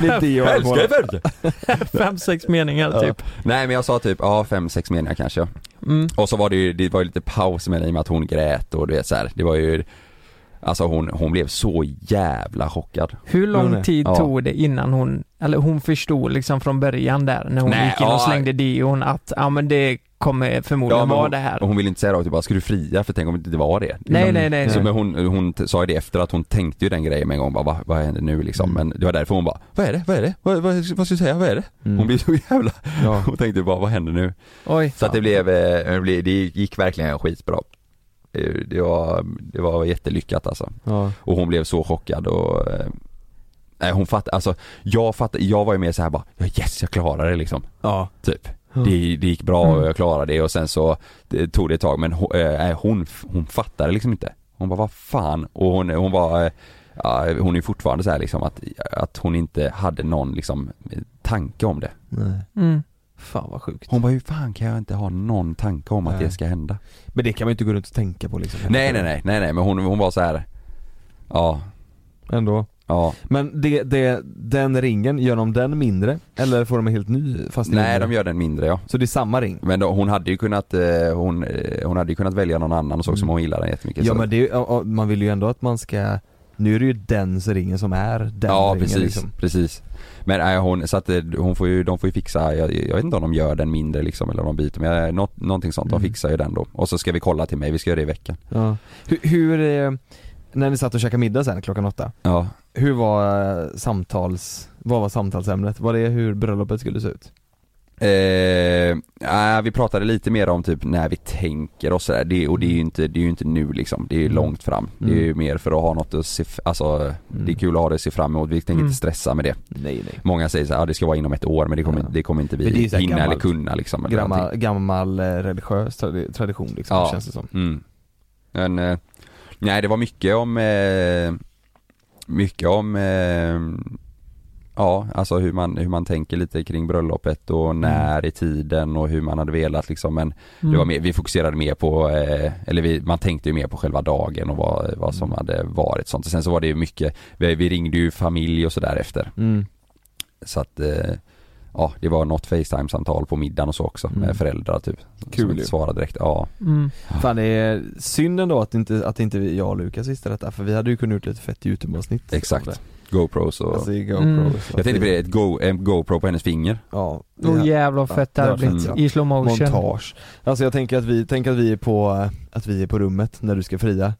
S3: Det är det jag har målat.
S2: färd!
S1: fem, sex meningar typ.
S2: Nej men jag sa typ, ja fem, sex meningar kanske.
S1: Mm.
S2: Och så var det ju, det var ju lite paus med i och med att hon grät och du vet så här, det var ju Alltså hon, hon blev så jävla chockad.
S1: Hur
S3: Jo,
S1: lång
S3: nej.
S1: tid
S2: Ja.
S1: tog det innan hon, eller hon förstod liksom från början där när hon
S2: Nej,
S1: gick in och
S2: ja.
S1: slängde dion att, ja men det kommer förmodligen
S2: men
S1: vara
S2: hon,
S1: det här.
S2: och hon ville inte säga rakt typ bara, ska du fria? För tänk om det inte var det.
S1: nej nej nej.
S2: Så,
S1: nej.
S2: men hon, hon t- sa ju det efter att hon tänkte ju den grejen med en gång bara, vad, vad händer nu liksom?
S1: Mm.
S2: Men det var därför hon bara, vad är det? Vad är det? Vad, vad, vad ska jag säga? Vad är det?
S3: Mm.
S2: Hon blev så jävla,
S3: Ja.
S2: hon tänkte bara, vad händer nu?
S1: Oj.
S2: Så att det blev, eh, det blev- det gick verkligen skitbra. Eh, Det var, det var jättelyckat alltså.
S3: Ja.
S2: Och hon blev så chockad och eh, Nej hon fattade, alltså jag fattade, jag var ju mer så här bara ja, yes jag klarade det liksom,
S3: Ja.
S2: typ
S3: Ja.
S2: det, det gick bra
S1: Mm.
S2: och jag klarade det och sen så det, tog det ett tag men hon, eh, nej, hon, hon fattade liksom inte Hon bara vad fan och hon, hon var eh, ja, Hon är fortfarande så här liksom att, att hon inte hade någon liksom eh, tanke om det
S3: Nej.
S1: Mm.
S3: Fan vad sjukt.
S2: Hon bara hur fan kan jag inte ha någon tanke om att
S3: Nej.
S2: det ska hända?
S3: Men det kan man ju inte gå runt och tänka på liksom.
S2: Nej nej nej nej nej men hon, hon var så här Ja,
S3: Ändå.
S2: ja
S3: Men det, det, den ringen, gör de den mindre? Eller får de en helt ny fast
S2: Nej de gör den mindre ja
S3: Så det är samma ring?
S2: Men då, hon hade ju kunnat, eh, hon, eh, hon hade ju kunnat välja någon annan och så som
S3: Mm.
S2: hon gillade den jättemycket
S3: Ja
S2: så.
S3: men det, är ju- ja, ja, man vill ju ändå att man ska Nu är det ju den ringen som är den
S2: Ja
S3: ringen
S2: precis,
S3: liksom.
S2: precis Men nej, hon, så att eh, hon får ju, de får ju fixa, jag, jag vet inte om de gör den mindre liksom eller om de byter men eh, något, någonting sånt,
S3: Mm.
S2: de fixar ju den då Och så ska vi kolla till mig, vi ska göra det i veckan
S3: Ja. Hur, hur, eh, när ni satt och käkade middag sen klockan åtta,
S2: Ja,
S3: hur var eh, samtals, vad var samtalsämnet? Var det hur bröllopet skulle se ut?
S2: eh, nej, vi pratade lite mer om typ när vi tänker och sådär det, och det är ju inte, det är ju inte nu liksom, det är ju
S3: Mm. Mm.
S2: långt fram Det är ju mer för att ha något att se, f- alltså det är kul att ha det att se fram emot, vi tänker
S1: Mm.
S2: inte stressa med det
S3: Nej nej
S2: Många säger så här, ah, det ska vara inom ett år men det kommer,
S3: Ja.
S2: det kommer inte vi
S3: Men det är ju så här
S2: hinna eller
S3: gammalt-
S2: kunna liksom eller någonting.
S3: Gammal, gammal eh, religiös tradi- tradition liksom,
S2: Ja.
S3: känns det som
S2: mm. Men, eh, nej det var mycket om, eh, mycket om, eh, ja alltså hur man, hur man tänker lite kring bröllopet
S3: Mm.
S2: och när i tiden och hur man hade velat liksom men det
S1: Mm.
S2: var mer, vi fokuserade mer på, eh, eller vi, man tänkte ju mer på själva dagen och vad, vad som
S3: Mm.
S2: hade varit sånt. Och sen så var det ju mycket, vi, vi ringde ju familj och sådär efter
S3: mm.
S2: Så att eh, Ja, det var något Facetime-samtal på middagen och så också
S3: Mm.
S2: med föräldrar typ.
S3: Kul
S2: som inte
S3: ju.
S2: svarade direkt. Ja.
S1: Mm.
S3: Fan det är synd ändå att inte, att inte vi- jag och Lukas visste detta för vi hade ju kunnat gjort ett fett YouTube-avsnitt
S2: Exakt.
S3: om det.
S2: GoPros och...
S3: Alltså i GoPro
S1: Mm.
S2: jag tänkte på det, ett Go, en GoPro på hennes finger.
S3: Ja, det
S1: Oh,
S3: här-
S1: jävlar vad
S3: Ja,
S1: fett
S3: det
S1: det hade
S3: var
S1: blivit
S3: fint, ja.
S1: i slow motion.
S3: montage Alltså jag tänker att vi, tänk att vi är på, eh, att vi är på rummet när du ska fria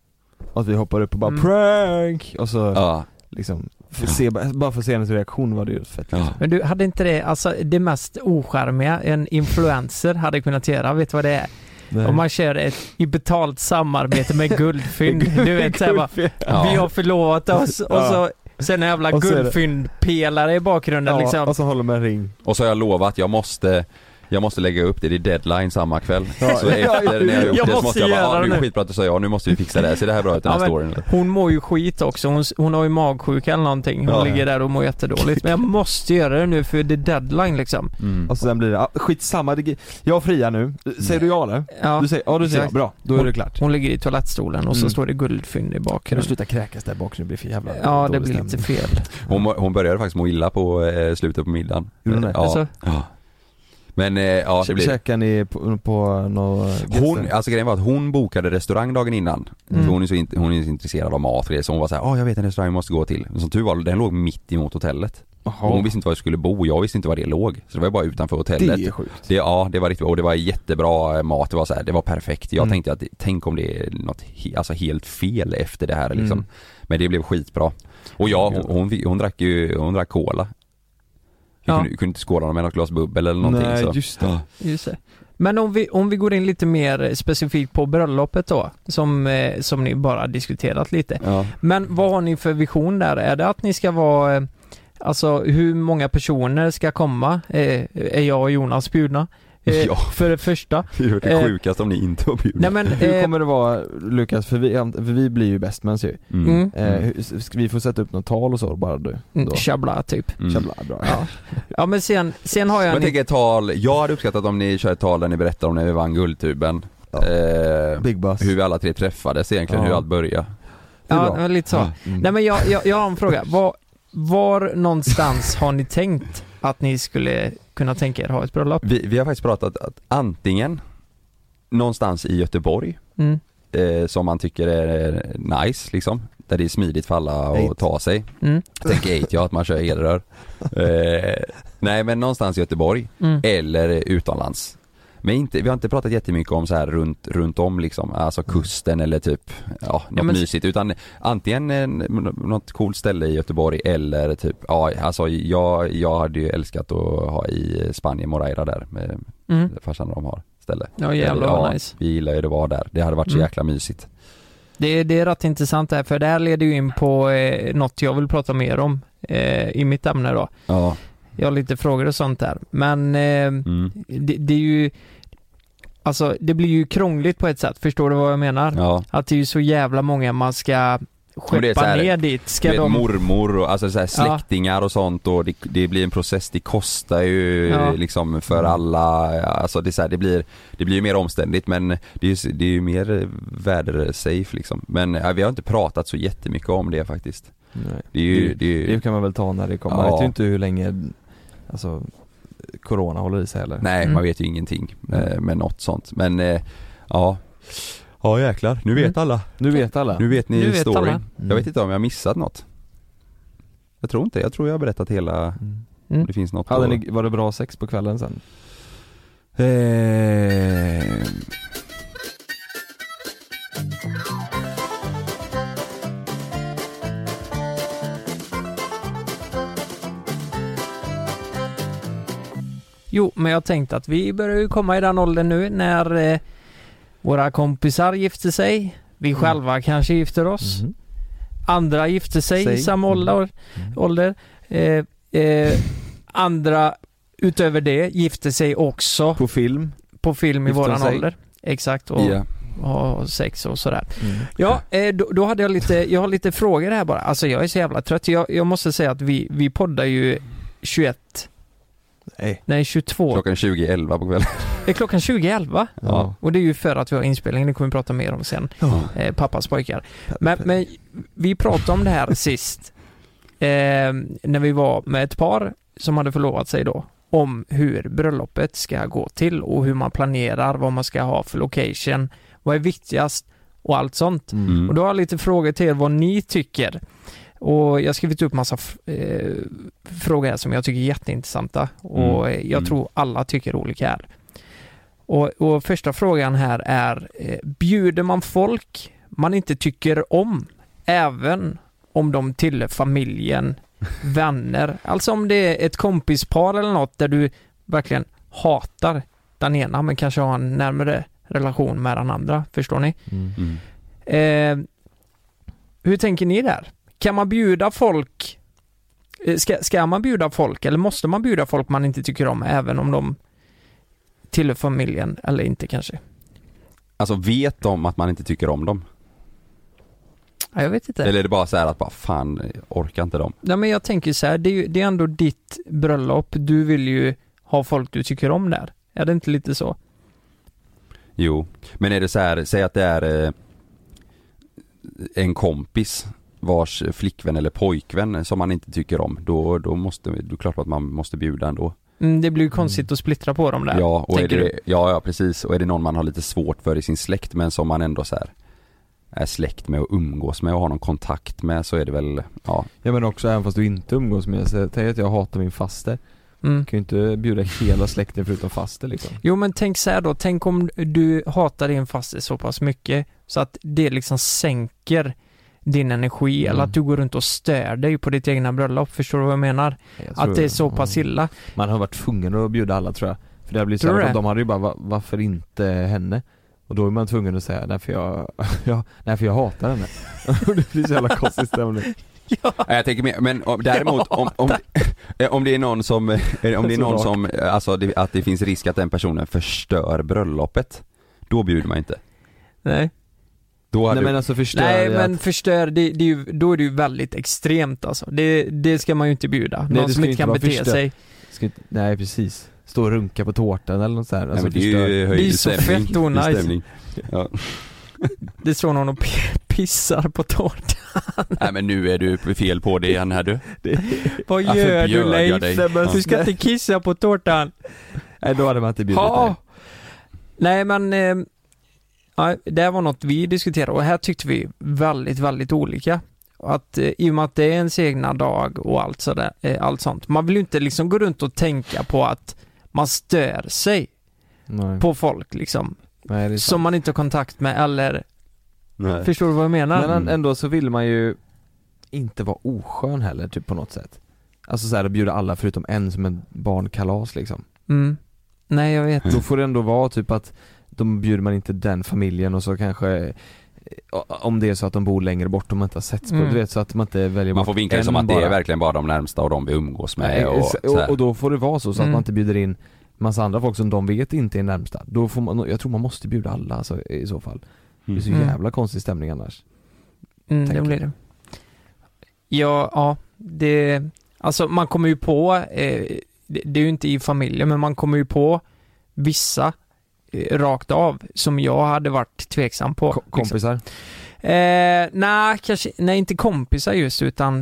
S3: Och att vi hoppar upp och bara
S1: Mm.
S3: 'prank' och så
S2: Ja.
S3: liksom, för se, bara för att se hennes reaktion var det ju fett
S2: ja.
S1: Men du, hade inte det, alltså det mest ocharmiga en influencer hade kunnat göra, vet du vad det är?
S3: Nej.
S1: Om man kör ett i betalt samarbete med guldfynd, du vet såhär bara,
S2: Ja.
S1: vi har förlovat oss och
S3: Ja.
S1: så sen en jävla
S3: Och så är det-
S1: guldfyndpelare i bakgrunden
S3: ja,
S1: liksom.
S3: och så håller man en ring
S2: Och så har jag lovat, jag måste jag måste lägga upp det, det är deadline samma kväll.
S3: Ja.
S2: Så efter när jag har gjort det så
S1: Jag måste
S2: måste jag bara,
S1: göra
S2: ja
S1: det
S2: nu är
S1: nu."
S2: det skitbra att du sa ja, nu måste vi fixa det här, ser det här bra ut den här
S1: Ja, men-
S2: storyn?
S1: Hon mår ju skit också, hon, hon har ju magsjuka eller någonting. Hon
S2: Ja.
S1: ligger där och mår jättedåligt. Men jag måste göra det nu för det är deadline liksom.
S2: Mm.
S3: Och så sen blir det, ah, skitsamma, det, jag friar nu, säger du ja eller?
S1: Ja.
S3: Du säger, ja du säger ja,
S1: Exakt.
S3: bra, då är det klart
S1: Hon ligger i toalettstolen och så
S3: Mm.
S1: står det guldfynd i
S3: Kan du
S1: bakgrunden.
S3: sluta kräkas där bak nu, det blir för jävla
S1: Ja, det
S3: dålig
S1: blir lite
S3: stämning.
S1: fel.
S2: Hon, må- hon började faktiskt må illa på eh, slutet på middagen.
S3: Gjorde hon det?
S2: Ja.
S1: Alltså?
S2: ja. Men eh, ja, det blir...
S3: Käkar ni på, på något
S2: Hon, alltså grejen var att hon bokade restaurang dagen innan.
S1: Mm.
S2: För hon är, så int- hon är så intresserad av mat och det, så hon var såhär, ja jag vet en restaurang vi måste gå till. Men som tur var, den låg mitt emot hotellet. Och hon
S3: Jaha,
S2: visste inte var jag skulle bo, jag visste inte var det låg. Så det var ju bara utanför
S3: det
S2: hotellet.
S3: är sjukt
S2: Det, ja, det var riktigt bra. Och det var jättebra eh, mat, det var så här, det var perfekt. Jag
S3: Mm.
S2: tänkte att, tänk om det är något he, alltså helt fel efter det här liksom.
S3: Mm.
S2: Men det blev skitbra. Och ja, hon, hon, fick- hon drack ju, hon drack cola. Jag
S1: Ja.
S2: kunde, kunde inte skåla med något glas bubbel eller någonting
S3: Nej,
S2: så.
S3: just det.
S1: Just det. Men om vi, om vi går in lite mer specifikt på bröllopet då, som, eh, som ni bara diskuterat lite.
S2: Ja.
S1: Men vad har ni för vision där? Är det att ni ska vara, eh, alltså hur många personer ska komma? Eh, är jag och Jonas bjudna? Eh,
S2: Ja.
S1: För det första.
S2: Det är
S1: Eh,
S2: det sjukaste om ni inte har bjudit.
S1: Nej men,
S3: Hur
S1: eh,
S3: kommer det vara Lukas, för vi, för vi blir ju bestmans ju.
S2: Mm.
S1: mm,
S3: Eh, hur- ska vi få sätta upp något tal och så bara du?
S1: mm,
S3: Då.
S1: tjabbla typ.
S2: Mm.
S3: Jävla bra.
S1: Ja. ja men sen, sen har jag
S2: Men jag
S1: en...
S2: tänker ett tal, jag hade uppskattat om ni kör ett tal där ni berättar om när vi vann Guldtuben.
S3: Ja.
S2: Eh,
S3: Big Buzz.
S2: hur vi alla tre träffades egentligen,
S3: Ja.
S2: hur allt började.
S3: det är
S1: ja,
S3: bra.
S1: men lite så.
S3: Mm.
S1: Nej men jag, jag, jag har en fråga. Var, var någonstans har ni tänkt att ni skulle kunna tänka er ha ett bröllop?
S2: Vi, vi har faktiskt pratat att antingen någonstans i Göteborg,
S1: Mm.
S2: eh, som man tycker är nice liksom, där det är smidigt för alla
S3: Eight.
S2: att ta sig.
S1: Mm.
S2: Jag tänker eight, ja, att man kör elrör. Eh, nej men någonstans i Göteborg,
S1: Mm.
S2: eller utomlands. Men inte, vi har inte pratat jättemycket om så här runt, runt om liksom, alltså kusten eller typ, ja, något
S1: Mm. men-
S2: mysigt. Utan antingen en, något coolt ställe i Göteborg eller typ, ja, alltså jag, jag hade ju älskat att ha i Spanien, Moreira där, med
S1: Mm.
S2: farsan och de har ställe.
S1: Ja jävlar
S2: ja,
S1: vad nice.
S2: Vi gillar ju det att vara där, det hade varit så
S1: Mm.
S2: jäkla mysigt.
S1: Det, det är rätt intressant det här för det här leder ju in på eh, något jag vill prata mer om eh, i mitt ämne då.
S2: Ja.
S1: Jag har lite frågor och sånt där. Men eh,
S2: Mm.
S1: det, det är ju Alltså det blir ju krångligt på ett sätt, förstår du vad jag menar?
S2: ja.
S1: Att det är ju så jävla många man ska
S2: Men det är
S1: skeppa
S2: så här,
S1: ner dit. Ska
S2: du vet,
S1: de...
S2: mormor och alltså så här
S1: Ja.
S2: släktingar och sånt och det, det blir en process, det kostar ju
S1: Ja.
S2: liksom för
S3: Mm.
S2: alla, alltså det, är så här, det blir det blir ju mer omständigt men det är ju, det är ju mer eh, vädersafe liksom. Men ja, vi har inte pratat så jättemycket om det faktiskt.
S3: Nej.
S2: Det är ju, det är ju
S3: Det kan man väl ta när det kommer.
S2: Ja.
S3: Man vet ju inte hur länge alltså, Corona håller i sig heller.
S2: nej
S1: Mm.
S2: man vet ju ingenting eh,
S3: Mm.
S2: med något sånt men eh, ja. Ja jäklar, nu
S1: vet
S2: alla.
S3: Nu vet alla. Mm.
S2: Nu vet ni
S1: Nu vet
S2: storyn.
S1: alla.
S2: Jag vet inte om jag har missat något. Jag tror inte, jag tror jag har berättat hela,
S3: Mm.
S2: det finns något
S3: Hade
S2: att-
S3: ni, var det bra sex på kvällen sen?
S2: Eh,
S1: Jo, men jag tänkte att vi börjar ju komma i den åldern nu när eh, våra kompisar gifter sig. Vi
S3: Mm.
S1: själva kanske gifter oss.
S3: Mm.
S1: Andra gifter sig i
S3: Sig.
S1: samma
S3: Mm.
S1: ålder. ålder. Eh, eh, andra utöver det gifter sig också
S3: På film.
S1: på film i
S3: Gifter
S1: våran
S3: sig.
S1: ålder. Exakt, och
S2: ja.
S1: ha sex och sådär.
S3: Mm.
S1: Ja, eh, då, då hade jag lite, jag har lite frågor här bara. Alltså jag är så jävla trött. Jag, jag måste säga att vi, vi poddar ju 21,
S3: Nej.
S1: nej 22.
S2: Klockan 20.11 på kvällen.
S1: Det är klockan 20.11.
S2: Ja.
S1: Och det är ju för att vi har inspelning, det kommer vi prata mer om sen.
S3: Ja.
S1: Eh, pappas pojkar. Men, men vi pratade om det här sist. Eh, när vi var med ett par som hade förlovat sig då. Om hur bröllopet ska gå till och hur man planerar, vad man ska ha för location, vad är viktigast och allt sånt.
S3: Mm.
S1: Och då har jag lite frågor till er vad ni tycker. Och jag har skrivit upp massa f- eh, frågor här som jag tycker är jätteintressanta. Och eh, jag
S2: Mm.
S1: tror alla tycker olika här. Och, och första frågan här är, eh, bjuder man folk man inte tycker om, även om de tillhör familjen, vänner? Alltså om det är ett kompispar eller något där du verkligen hatar den ena men kanske har en närmare relation med den andra, förstår ni?
S3: Mm.
S2: Mm.
S1: Eh, hur tänker ni där? Kan man bjuda folk eh, ska, ska man bjuda folk eller måste man bjuda folk man inte tycker om även om de tillhör familjen eller inte kanske?
S2: Alltså vet de att man inte tycker om dem?
S1: Ja, jag vet inte.
S2: Eller är det bara så här att bara fan, orkar inte dem?
S1: Nej, men jag tänker så här, det är, ju, det är ändå ditt bröllop. Du vill ju ha folk du tycker om där. Är det inte lite så?
S2: Jo, men är det så här, säg att det är eh, en kompis vars flickvän eller pojkvän som man inte tycker om, då, då måste, då är det klart att man måste bjuda ändå.
S1: Mm, det blir ju konstigt att splittra på dem där.
S2: ja, och är
S1: tänker
S2: det, ja, ja precis, och är det någon man har lite svårt för i sin släkt men som man ändå så här är släkt med och umgås med och har någon kontakt med så är det väl, ja,
S3: Ja men också även fast du inte umgås med så Tänk att jag hatar min faster.
S1: Mm.
S3: Jag kan ju inte bjuda hela släkten förutom faster liksom.
S1: Jo men tänk så här då, tänk om du hatar din faster så pass mycket så att det liksom sänker din energi
S3: Mm.
S1: eller att du går runt och stör dig på ditt egna bröllop. Förstår du vad jag menar?
S3: Jag tror- Mm.
S1: Att det är så pass
S3: ja.
S1: illa.
S3: Man har varit tvungen att bjuda alla tror jag För det har blivit
S1: Tror
S3: så
S1: du
S3: här,
S1: det?
S3: de hade ju bara, "Va- varför inte henne? Och då är man tvungen att säga, nej för jag, ja, nej för jag hatar henne Och Det blir så jävla konstig stämning
S2: Nej, jag tänker mer, men om, däremot om, om, eh, om det är någon som, eh, om det är
S3: Så
S2: någon
S3: rakt.
S2: som, eh, alltså det, att det finns risk att den personen förstör bröllopet, då bjuder man inte.
S1: Nej.
S2: Då hade
S3: Nej men alltså förstör
S1: Nej
S3: jag
S1: men förstör, det, det är ju, då är det ju väldigt extremt alltså. Det, det ska man ju inte bjuda.
S3: det
S1: Någon
S3: ska
S1: som
S3: ju
S1: inte
S3: inte
S1: kan
S3: vara
S1: bete
S3: förstört.
S1: sig.
S3: Ska inte, nej precis, stå och runka på tårtan eller något sånt
S2: Nej, men det är
S3: alltså, förstör.
S2: ju
S1: Det är
S2: höjd
S1: så
S2: stämning.
S1: fett onajs.
S2: Det är stämning. Ja.
S1: Det står någon och p- pissar på tårtan.
S2: Nej men nu är du fel på det igen här du.
S1: Vad
S2: Varför
S1: gör du
S2: bjöd jag
S1: Leif?
S2: dig?
S3: Nej, men-
S1: Du ska inte kissa på tårtan.
S3: Nej då hade man inte bjudit
S1: Ja.
S3: dig
S1: Nej men, eh, ja, det här var något vi diskuterade och här tyckte vi väldigt, väldigt olika. Att eh, i och med att det är ens egna dag och allt, sådär, eh, allt sånt. Man vill ju inte liksom gå runt och tänka på att man stör sig
S3: Nej,
S1: på folk liksom.
S3: nej det är
S1: Som
S3: sant.
S1: man inte har kontakt med eller,
S2: Nej.
S1: förstår du vad jag menar?
S3: Men an- ändå så vill man ju inte vara oskön heller typ på något sätt Alltså såhär att bjuda alla förutom en som en barnkalas liksom
S1: Mm. Nej jag
S2: Mm.
S1: vet.
S3: Då får det ändå vara typ att de bjuder man inte den familjen och så kanske eh, om det är så att de bor längre bort och man inte har setts på,
S1: Mm.
S3: du vet så att man inte väljer
S2: Man
S3: bort
S2: får vinkla det
S3: en
S2: som att det är
S3: bara.
S2: verkligen bara de närmsta och de vi umgås med
S3: Nej,
S2: och,
S3: ex-
S2: så här.
S3: och, och då får det vara så, så att
S1: Mm.
S3: man inte bjuder in massa andra folk som de vet inte är närmsta. Då får man, jag tror man måste bjuda alla alltså, i så fall. Det är så
S1: Mm.
S3: jävla konstig stämning annars.
S1: Mm, det
S3: tänker
S1: blir det. Ja, ja, det, alltså man kommer ju på, eh, det, det är ju inte i familjen, men man kommer ju på vissa eh, rakt av som jag hade varit tveksam på.
S3: Ko-
S1: liksom.
S3: kompisar.
S1: Eh, nej, kanske, nej inte kompisar just utan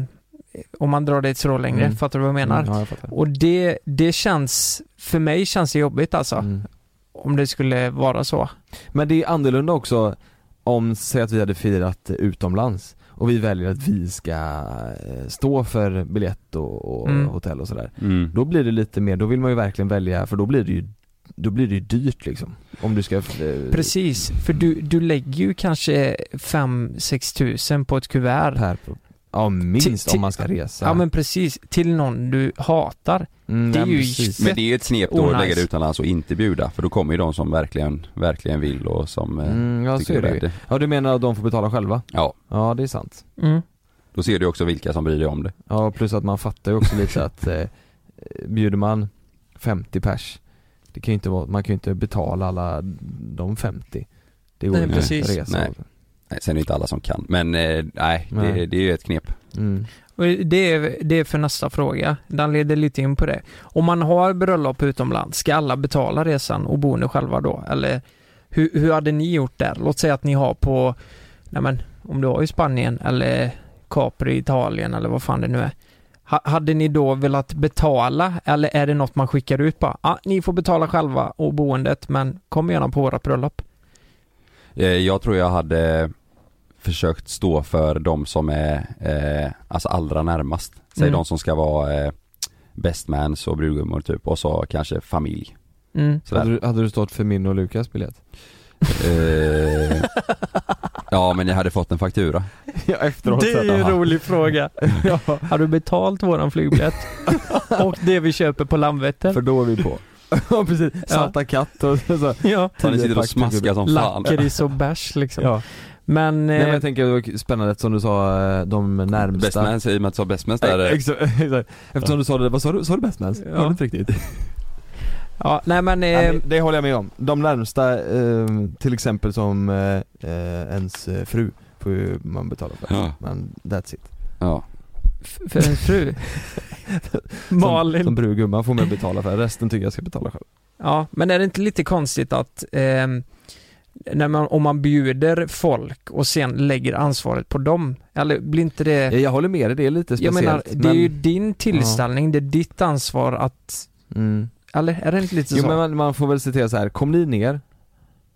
S1: eh, om man drar det så längre,
S3: Mm.
S1: fattar du vad jag menar?
S3: Mm, ja, jag fattar.
S1: Och det, det känns, för mig känns det jobbigt alltså,
S3: Mm.
S1: om det skulle vara så.
S3: Men det är annorlunda också om, säg att vi hade firat eh, utomlands och vi väljer att vi ska eh, stå för biljett och, och
S1: Mm.
S3: hotell och sådär.
S2: Mm.
S3: Då blir det lite mer, då vill man ju verkligen välja för då blir det ju, då blir det ju dyrt liksom. Om du ska... eh,
S1: Precis, för du, du lägger ju kanske 5-6 tusen på ett kuvert.
S3: Per, pro- ja minst
S1: Ti- ti-
S3: om man ska resa.
S1: Ja men precis, till någon du hatar.
S3: Mm,
S1: det är
S3: nej,
S1: ju
S3: precis.
S1: fett
S2: Men det är ju ett snep då
S1: onajs.
S2: att lägga det utomlands och inte bjuda för då kommer ju de som verkligen, verkligen vill och som eh,
S3: Mm, ja så
S2: tycker
S3: är
S2: det är
S3: det
S2: värt
S3: ju.
S2: det.
S3: Ja du menar att de får betala själva?
S2: Ja,
S3: Ja det är sant.
S1: Mm.
S2: då ser du också vilka som bryr dig om det.
S3: Ja plus att man fattar ju också lite att eh, bjuder man 50 pers, det kan ju inte vara, man kan ju inte betala alla de 50. Det går
S1: Nej,
S3: ju inte
S1: precis.
S3: att resa.
S2: Nej. Nej, sen är det inte alla som kan, men eh, nej, Det,
S3: Nej.
S2: det är ju ett knep.
S3: Mm.
S1: Och det, är, det är för nästa fråga. Den leder lite in på det. Om man har bröllop utomlands, ska alla betala resan och boende själva då? Eller hur, hur hade ni gjort där? Låt säga att ni har på, nej men, om du har i Spanien eller Capri, Italien eller vad fan det nu är. Ha, hade ni då velat betala eller är det något man skickar ut bara? Ah, ni får betala själva och boendet men kom gärna på våra bröllop.
S2: Eh, Jag tror jag hade försökt stå för de som är eh, alltså allra närmast. Säg
S1: Mm.
S2: de som ska vara eh, best mans och brudgummor typ och så kanske familj.
S1: Mm.
S2: Sådär.
S3: Hade, du, hade du stått för min och Lukas biljett?
S2: Eh, ja men jag hade fått en faktura.
S3: ja efteråt
S1: Det är ju en
S2: aha.
S1: rolig fråga. Har du betalt våran flygbiljett och det vi köper på Landvetter?
S3: För då är vi på. ja precis, salta katt och så.
S1: Ja.
S2: Fan, ni sitter och
S3: Tiopack
S2: smaskar som fan.
S1: Lakrits och bärs liksom.
S3: Ja.
S1: Men,
S3: Nej men
S1: eh,
S3: jag tänker det var spännande eftersom du sa eh, de närmsta
S2: Best mans, i och med att jag sa best mans där. eh,
S3: Exakt, exakt. Eftersom du sa det, vad sa du? Sa du best mans?
S1: Ja.
S3: Hörde inte riktigt.
S1: ja, nej men, eh,
S3: Nej, men det håller jag med om. De närmsta, eh, till exempel som eh, eh, ens eh, fru, får ju man betala för.
S2: Ja.
S3: Men that's it.
S2: Ja.
S1: f- för en fru. Malin.
S3: Som, som brudgumman får man betala för, resten tycker jag ska betala själv.
S1: Ja, men är det inte lite konstigt att eh, när man, om man bjuder folk och sen lägger ansvaret på dem? Eller blir inte det...
S3: Jag, jag håller med dig, det är lite
S1: Eh. Jag
S3: speciellt.
S1: menar, det är
S3: men-
S1: ju din tillställning, det är ditt ansvar att...
S3: mm.
S1: Eller är det inte lite
S3: Jo
S1: så?
S3: men man, man får väl citera så här. kom ni ner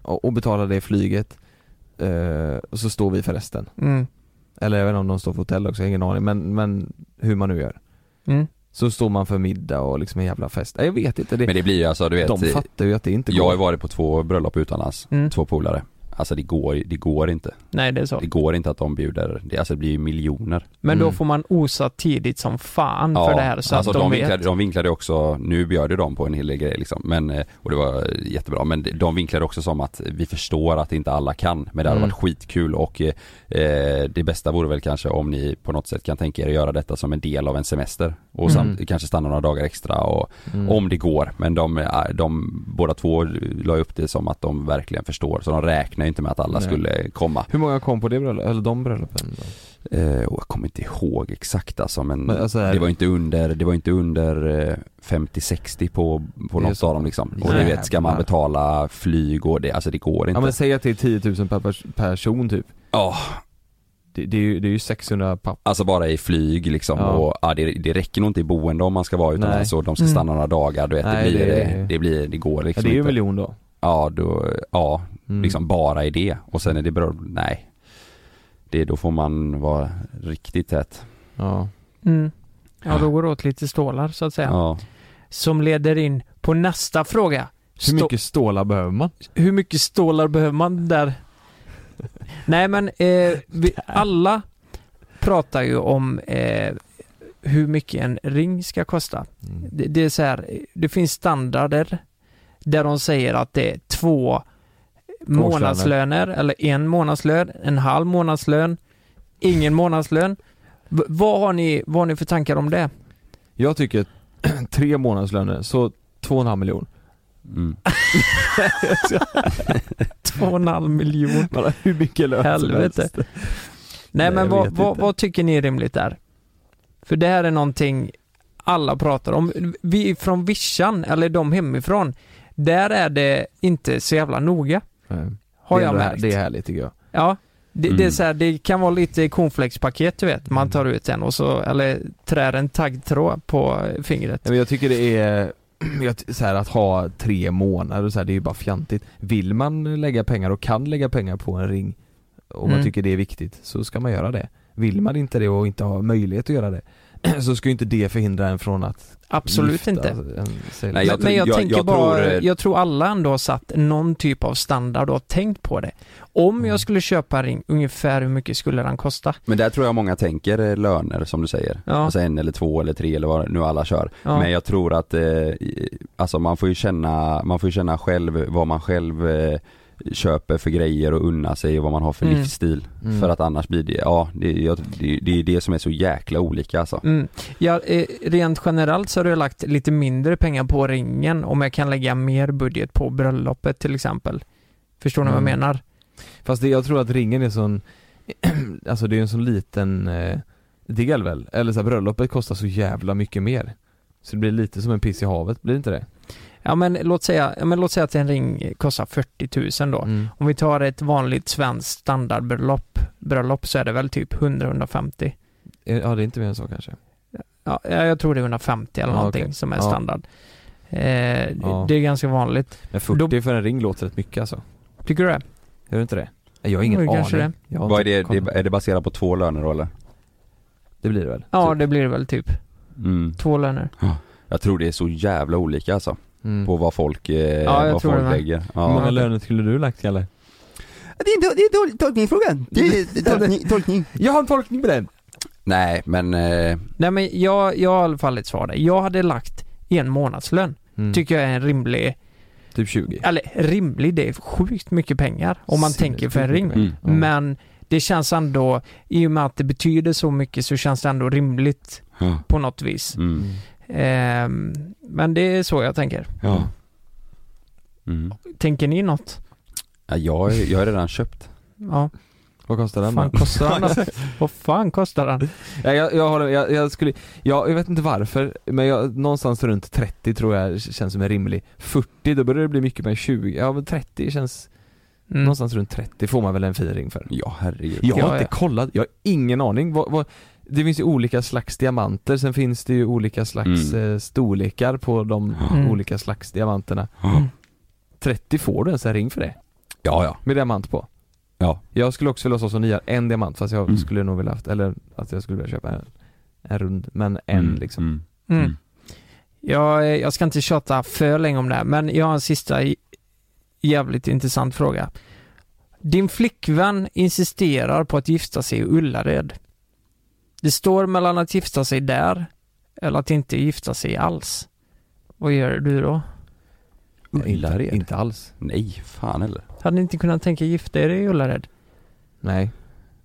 S3: och, och betala det flyget, eh, och så står vi för resten.
S1: Mm,
S3: Eller jag vet inte om de står för hotell också, jag har ingen aning, men, men hur man nu gör.
S1: mm.
S3: Så står man för middag och liksom en jävla fest. Nej, Jag vet inte, det,
S2: Men det blir ju alltså du vet,
S3: de
S2: eh,
S3: fattar ju att det inte
S2: jag har
S3: går.
S2: ju varit på två bröllop utomlands,
S1: Mm.
S2: två polare. Alltså det går, det går inte.
S1: Nej, det är så.
S2: Det går inte att de bjuder, det, alltså det blir ju miljoner.
S1: Men då
S3: Mm.
S1: får man osa tidigt som fan Mm, för det här så
S2: alltså
S1: att de, vet.
S2: vinklade, de vinklade också, nu bjöd ju de på en hel del grejer liksom, men, eh, och det var eh, jättebra, men de vinklade också som att vi förstår att inte alla kan, men det hade
S3: Mm.
S2: varit skitkul och eh, eh, det bästa vore väl kanske om ni på något sätt kan tänka er att göra detta som en del av en semester och
S3: Mm.
S2: samt, kanske stanna några dagar extra och
S3: Mm.
S2: om det går, men de, eh, de båda två la upp det som att de verkligen förstår, så de räknar ju inte med att alla
S3: Nej.
S2: skulle komma.
S3: Hur många kom på det bröllopet, eller de bröllopen? då?
S2: Eh, och jag kommer inte ihåg exakt alltså men,
S3: Men alltså, är-
S2: det var inte under, det var inte under eh, 50-60 på, på
S3: är
S2: något
S3: så.
S2: av dem liksom. Och du
S1: Jävlar.
S2: vet, ska man betala flyg och det, alltså det går inte.
S3: Ja men säg att det är 10 000 per pers- person typ
S2: Ja,
S3: Det, det, är, ju, det är ju 600 papp
S2: alltså bara i flyg liksom
S3: Ja.
S2: och ja, det, det räcker nog inte i boende om man ska vara utan
S3: Nej.
S2: alltså, de ska
S1: Mm.
S2: stanna några dagar, du vet,
S3: Nej,
S2: det, blir,
S3: det-
S2: det, blir, det går
S3: ja,
S2: liksom
S3: Det är ju en
S2: inte.
S3: miljon då
S2: Ja, då, ja,
S3: Mm.
S2: liksom bara i det och sen är det bra, nej. Det, då får man vara riktigt tät.
S3: Ja
S1: Mm. Ja, då går det åt lite stålar så att säga.
S2: Ja.
S1: Som leder in på nästa fråga.
S3: Hur
S1: Stå-
S3: mycket stålar behöver man?
S1: hur mycket stålar behöver man där? Nej men eh, vi alla pratar ju om eh, hur mycket en ring ska kosta.
S3: Mm.
S1: Det, det är så här, eh, det finns standarder där de säger att det är två månadslöner eller en månadslön, en halv månadslön, ingen månadslön. V- vad, har ni, vad har ni för tankar om det?
S3: Jag tycker tre månadslöner, så två och en halv miljon
S2: Mm.
S1: Två och en halv miljon.
S3: Bara hur mycket lön som
S1: Helvete.
S3: helst.
S1: Nej,
S3: Alltså, Nej,
S1: men
S3: jag
S1: vad,
S3: vet
S1: vad,
S3: inte.
S1: vad tycker ni är rimligt där? För det här är någonting alla pratar om. Vi från Vischan, eller de hemifrån, där är det inte så jävla noga.
S3: Nej.
S1: Har
S3: det är
S1: jag
S3: ändå här-
S1: märkt.
S3: Det är härligt tycker jag
S1: Ja. Det, det, är
S2: Mm.
S1: så här, det kan vara lite cornflakespaket du vet. Man tar ut en och så, eller trär en taggtråd på fingret.
S3: Nej, men jag tycker det är jag ty- så här, att ha tre månader och så här, det är ju bara fjantigt. Vill man lägga pengar och kan lägga pengar på en ring och man
S1: Mm.
S3: tycker det är viktigt så ska man göra det. Vill man inte det och inte har möjlighet att göra det så ska ju inte det förhindra en från att
S1: Absolut
S3: gifta
S1: inte.
S3: en sig.
S2: Nej, jag
S1: men, men
S2: tror-
S1: jag,
S2: jag-
S1: tänker
S2: jag
S1: bara,
S2: tror, eh,
S1: jag tror alla ändå har satt någon typ av standard och har tänkt på det. Om
S3: Mm.
S1: jag skulle köpa en ring, ungefär hur mycket skulle den kosta?
S2: Men där tror jag många tänker eh, löner som du säger.
S1: Ja.
S2: Alltså en eller två eller tre eller vad nu alla kör.
S1: Ja.
S2: Men jag tror att, eh, i- alltså man får ju känna, man får ju känna själv vad man själv eh, köper för grejer och unna sig och vad man har för
S1: Mm.
S2: livsstil.
S3: Mm.
S2: För att annars blir det, ja det, jag, det, det är det som är så jäkla olika alltså.
S1: Mm. Ja, eh, rent generellt så har jag lagt lite mindre pengar på ringen om jag kan lägga mer budget på bröllopet till exempel. Förstår ni vad jag
S3: Mm.
S1: menar?
S3: Fast det, jag tror att ringen är sån, alltså det är en sån liten eh, del väl? Eller så här, bröllopet kostar så jävla mycket mer. Så det blir lite som en piss i havet, blir det inte det?
S1: Ja men låt säga, ja, men låt säga att en ring kostar 40 000 då.
S3: Mm.
S1: Om vi tar ett vanligt svenskt standardbröllop bröllop så är det väl typ 100-150.
S3: Eh, Ja det är inte mer än så kanske.
S1: Ja, ja, jag tror det är 150 eller
S3: Ja,
S1: någonting
S3: okej.
S1: som är
S3: Ja.
S1: standard. Eh,
S3: Ja.
S1: Det är ganska vanligt.
S3: Men 40 för en ring låter rätt mycket alltså.
S1: Tycker du det?
S3: Gör det inte det? Jag har ingen
S1: Jo,
S3: aning.
S1: kanske det.
S3: Jag har
S2: Vad är
S3: inte
S2: det,
S3: koll.
S2: det, är det baserat på två löner då eller?
S3: Det blir det väl?
S1: Ja,
S3: Typ.
S1: det blir det väl typ.
S2: Mm.
S1: Två löner.
S2: Jag tror det är så jävla olika alltså,
S3: Mm.
S2: på vad folk, eh,
S1: jag
S2: vad
S1: tror
S2: folk
S1: det med. Mm.
S2: lägger.
S3: Hur
S2: Ja.
S3: många löner skulle du lagt Kalle?
S2: Det är, det är tolkningsfrågan,
S3: Det är tolkning-
S2: tolkning.
S3: Jag har en tolkning på den!
S2: Nej men, eh,
S1: Nej men jag, jag har i alla fall ett svar där. Jag hade lagt en månadslön.
S3: Mm.
S1: Tycker jag är en rimlig,
S3: typ 20.
S1: eller rimlig, det är sjukt mycket pengar om man tänker för en ring.
S3: Mm. Ja.
S1: Men det känns ändå, i och med att det betyder så mycket så känns det ändå rimligt
S2: ja.
S1: på något vis.
S2: Mm.
S3: Mm.
S1: Ehm, men det är så jag tänker.
S2: Ja. Mm.
S1: Tänker ni något?
S2: Ja, jag, har- jag har redan köpt.
S1: Ja,
S3: Vad kostar den
S1: fan
S3: då?
S1: kostar den alltså? Vad fan kostar den?
S3: Ja, jag, jag, håller, jag, jag skulle, jag, jag vet inte varför, men jag, någonstans runt 30 tror jag känns som en rimlig 40 då börjar det bli mycket mer 20, ja men 30 känns,
S1: Mm.
S3: någonstans runt 30 får man väl en fin ring för?
S2: Ja herregud.
S3: Jag har
S1: Ja,
S3: inte
S1: ja.
S3: kollat, jag har ingen aning. Vad, vad, det finns ju olika slags diamanter, sen finns det ju olika slags
S2: Mm.
S3: eh, storlekar på de
S1: Mm.
S3: olika slags diamanterna.
S1: Mm.
S3: 30 får du ens en ring för det,
S2: Ja ja.
S3: med diamant på.
S2: Ja.
S3: Jag skulle också vilja ha som nya, en diamant fast jag
S2: Mm.
S3: skulle nog vilja haft, eller att jag skulle vilja köpa en, en rund, men en
S2: Mm,
S3: liksom.
S2: Mm.
S1: Mm. Jag, eh, jag ska inte tjata för länge om det här, men jag har en sista j- jävligt intressant fråga. Din flickvän insisterar på att gifta sig i Ullared. Det står mellan att gifta sig där eller att inte gifta sig alls. Vad gör du då?
S2: Mm.
S3: Inte, inte alls.
S2: Nej, fan eller?
S1: Hade ni inte kunnat tänka gifta er i Ullared?
S3: Nej.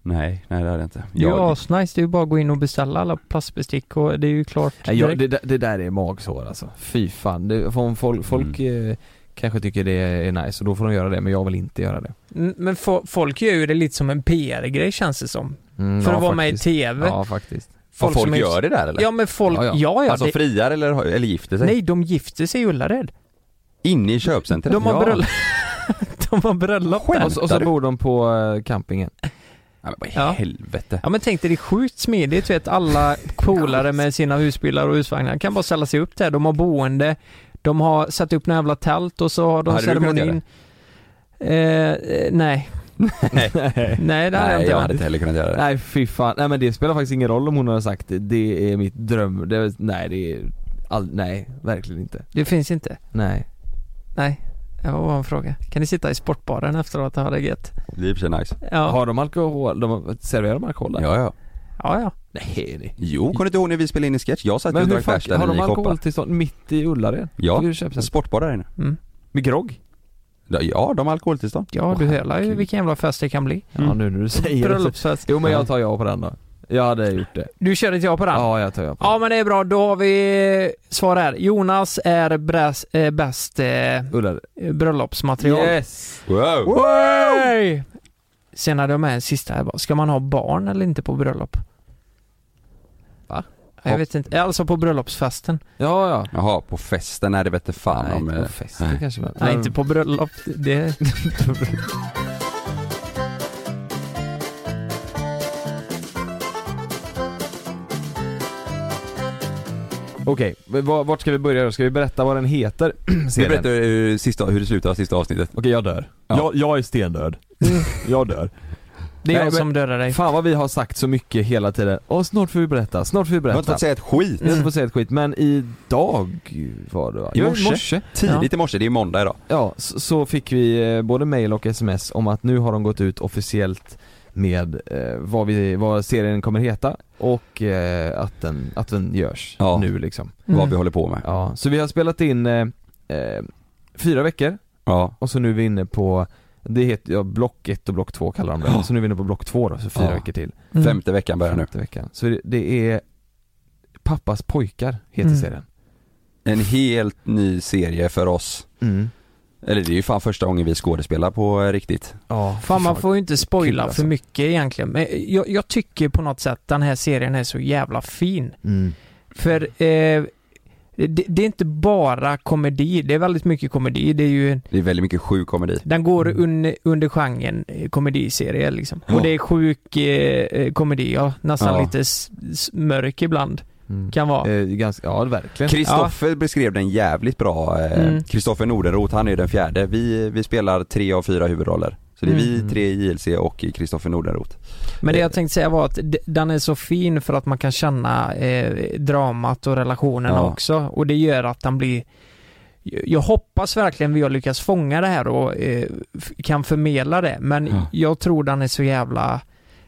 S2: Nej, nej det hade jag inte.
S1: Det är ju
S2: Jag,
S1: asnice, det är ju bara att gå in och beställa alla plastbestick och det är ju klart
S3: Nej, jag,
S1: direkt.
S3: det, där- det där är magsår alltså. Fy fan. Det, för om
S2: Mm.
S3: folk folk eh, kanske tycker det är nice och då får de göra det men jag vill inte göra det.
S1: Mm, Men fo- folk gör ju det lite som en PR-grej känns det som.
S3: Mm,
S1: För
S3: ja,
S1: att vara med i
S3: faktiskt.
S1: TV.
S3: Ja faktiskt.
S2: folk,
S1: som
S2: folk
S1: är-
S2: gör det där eller?
S1: Ja men folk,
S3: Ja,
S1: ja
S3: ja.
S1: ja. ja,
S2: alltså
S1: det,
S2: friar eller, eller gifter sig?
S1: nej de gifter sig i Ullared.
S2: Inne i köpcentret?
S1: De har
S2: ja.
S1: bröllop. de har bröllop där.
S3: Och så, och så
S2: Skämtar du?
S3: bor de på eh, campingen.
S2: Ja, men vad i
S1: Ja.
S2: helvete?
S1: Ja men tänk dig, det är sjukt smidigt vet alla polare med sina husbilar och husvagnar kan bara ställa sig upp där. De har boende, de har satt upp några jävla tält och så har de
S2: Hade du kunnat
S1: ceremonin. Eh, eh, nej, nej det hade jag
S2: nej,
S1: inte
S2: jag
S1: gjort.
S2: hade inte heller kunnat göra det.
S3: Nej fy fan. Nej men det spelar faktiskt ingen roll om hon har sagt det. Det är mitt dröm. Det, nej det är, all, nej verkligen inte.
S1: Det finns inte.
S3: Nej.
S1: Nej. Ja, vad var en fråga. Kan ni sitta i sportbaren efteråt och ha det gött?
S2: Det är i och för sig nice.
S1: Ja,
S3: Har de alkohol? De, serverar de alkohol där?
S2: Ja, ja.
S1: ja. ja.
S3: Nej det.
S2: Jo, kommer du inte ihåg när vi spelade in i sketch? Jag satt ju och
S3: Men hur
S2: drack
S3: fan,
S2: bärs där när
S3: har de
S2: ni koppa.
S3: alkoholtillstånd mitt i Ullared?
S2: Ja,
S3: Får du köpa
S2: en
S3: sig?
S2: sportbar där inne.
S1: Mm.
S3: Med grogg?
S2: Ja, de har alkoholtillstånd.
S1: Ja, du hölar ju
S3: herregud.
S1: vilken jävla fest det kan bli.
S3: Ja nu när du säger det så-
S1: Bröllopsfest.
S3: Jo men jag tar ja på den då. Jag hade gjort det.
S1: Du körde ett ja på den?
S3: Ja jag tar ja på
S1: Ja
S3: den.
S1: men det är bra, då har vi svar här. Jonas är bräs, eh, bäst eh,
S3: Ullared.
S1: bröllopsmaterial.
S3: Yes!
S2: Wow!
S1: Way! Sen hade jag med en sista här bara. Ska man ha barn eller inte på bröllop?
S3: Va?
S1: Jag vet inte, alltså på bröllopsfesten.
S3: Ja ja.
S2: Jaha, på festen? Nej, det vete fan
S3: Nej,
S2: om...
S3: inte
S2: eh,
S3: på festen
S2: nej.
S3: kanske men.
S1: Nej inte på bröllop, det...
S3: Okej, men var- vart ska vi börja då? Ska vi berätta vad den heter?
S2: Ska jag
S3: Serien?
S2: berätta hur, sista, hur det slutar, sista avsnittet?
S3: Okej jag dör.
S2: Ja.
S3: Jag, jag är stendöd. jag dör.
S1: Det är
S3: Nej,
S1: jag
S3: men-
S1: som dödar dig.
S3: Fan vad vi har sagt så mycket hela tiden. Och snart får vi berätta, snart får vi
S2: Jag har
S3: berätta.
S2: inte fått säga ett skit!
S3: Ni har inte fått säga ett skit, men idag var det va?
S2: I morse.
S3: morse.
S2: Tidigt i morse, det är måndag idag.
S3: Ja, så, så fick vi eh, både mail och sms om att nu har de gått ut officiellt med eh, vad, vi, vad serien kommer heta och eh, att, den, att den görs
S2: Ja.
S3: nu liksom.
S2: Vad vi
S1: Mm.
S2: håller på med.
S3: Ja, så vi har spelat in eh, eh, fyra veckor
S2: Ja.
S3: och så nu är vi inne på det heter, ja, block 1 och block 2 kallar de det.
S2: Ja.
S3: Så nu är vi inne på block 2 då, så fyra
S2: Ja.
S3: veckor till.
S1: Mm.
S2: Femte veckan börjar nu.
S3: Femte veckan. Så det, det är Pappas pojkar heter
S1: Mm.
S3: serien.
S2: En helt ny serie för oss.
S3: Mm.
S2: Eller det är ju fan första gången vi skådespelar på eh, riktigt.
S3: Ja,
S1: Fan man får ju inte spoila
S3: kul, alltså.
S1: för mycket egentligen. Men jag, jag tycker på något sätt den här serien är så jävla fin.
S3: Mm.
S1: För eh, det, det är inte bara komedi, det är väldigt mycket komedi. Det är ju,
S2: Det är väldigt mycket sjuk komedi.
S1: den går un, under genren eh, komediserie liksom.
S2: Mm. Ja.
S1: Och det är sjuk eh, eh, komedi, ja, nästan
S2: Ja.
S1: lite s- s- mörk ibland
S3: Mm.
S1: kan vara.
S3: Eh, ganska, ja verkligen.
S2: Kristoffer beskrev den jävligt bra. eh,
S1: Mm.
S2: Kristoffer Nordenroth, han är ju den fjärde. Vi, vi spelar tre av fyra huvudroller. Så det är
S3: Mm.
S2: vi tre i JLC och Kristoffer Nordenroth.
S1: Men det
S3: Eh,
S1: jag tänkte säga var att d- den är så fin för att man kan känna eh, dramat och relationerna
S2: Ja.
S1: också och det gör att den blir jag hoppas verkligen vi har lyckats fånga det här och eh, f- kan förmedla det men
S2: Ja.
S1: jag tror den är så jävla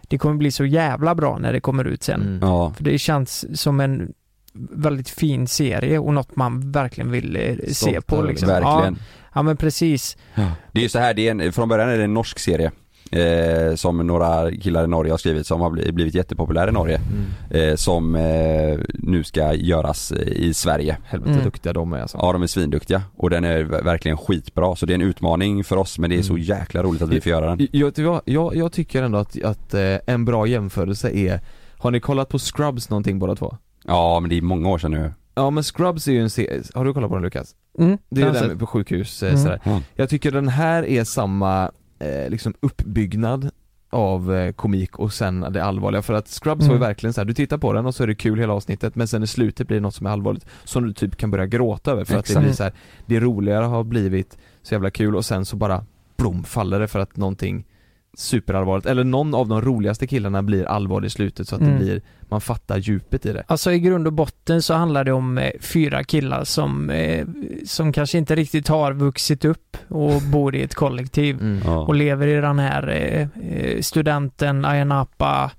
S1: Det kommer bli så jävla bra när det kommer ut sen.
S3: Mm.
S2: Ja.
S1: För det känns som en väldigt fin serie och något man verkligen vill eh, se
S3: Stolt
S1: på
S3: över,
S1: liksom.
S2: Verkligen.
S1: Ja, ja men precis.
S2: Det är ju så här, det är en, från början är det en norsk serie. Eh, som några killar i Norge har skrivit som har bli- blivit jättepopulär i Norge.
S3: Mm.
S2: Eh, som eh, nu ska göras eh, i Sverige.
S3: Helvete
S1: Mm.
S3: duktiga de är alltså.
S2: Ja de är svinduktiga och den är ver- verkligen skitbra så det är en utmaning för oss men det är så
S3: Mm.
S2: jäkla roligt att vi får göra den.
S3: Jag, jag, jag, jag tycker ändå att, att eh, en bra jämförelse är Har ni kollat på Scrubs någonting båda två?
S2: Ja men det är många år sedan nu.
S3: Ja men Scrubs är ju en serie, har du kollat på den Lukas?
S1: Mm,
S3: Det är ju
S1: den
S3: den
S1: ser-
S3: med- på sjukhus eh,
S1: Mm.
S3: sådär. Jag tycker den här är samma eh, liksom uppbyggnad av eh, komik och sen det allvarliga för att Scrubs var ju
S1: Mm.
S3: verkligen så här, du tittar på den och så är det kul hela avsnittet men sen i slutet blir det något som är allvarligt som du typ kan börja gråta över för att
S2: Exakt.
S3: det blir så här, det roligare har blivit så jävla kul och sen så bara blom faller det för att någonting superallvarligt, eller någon av de roligaste killarna blir allvarlig i slutet så att
S1: Mm.
S3: det blir, man fattar djupet i det.
S1: Alltså i grund och botten så handlar det om eh, fyra killar som, eh, som kanske inte riktigt har vuxit upp och bor i ett kollektiv.
S3: Mm.
S1: och
S2: Ja.
S1: lever i den här eh, eh, studenten, Ayanapa,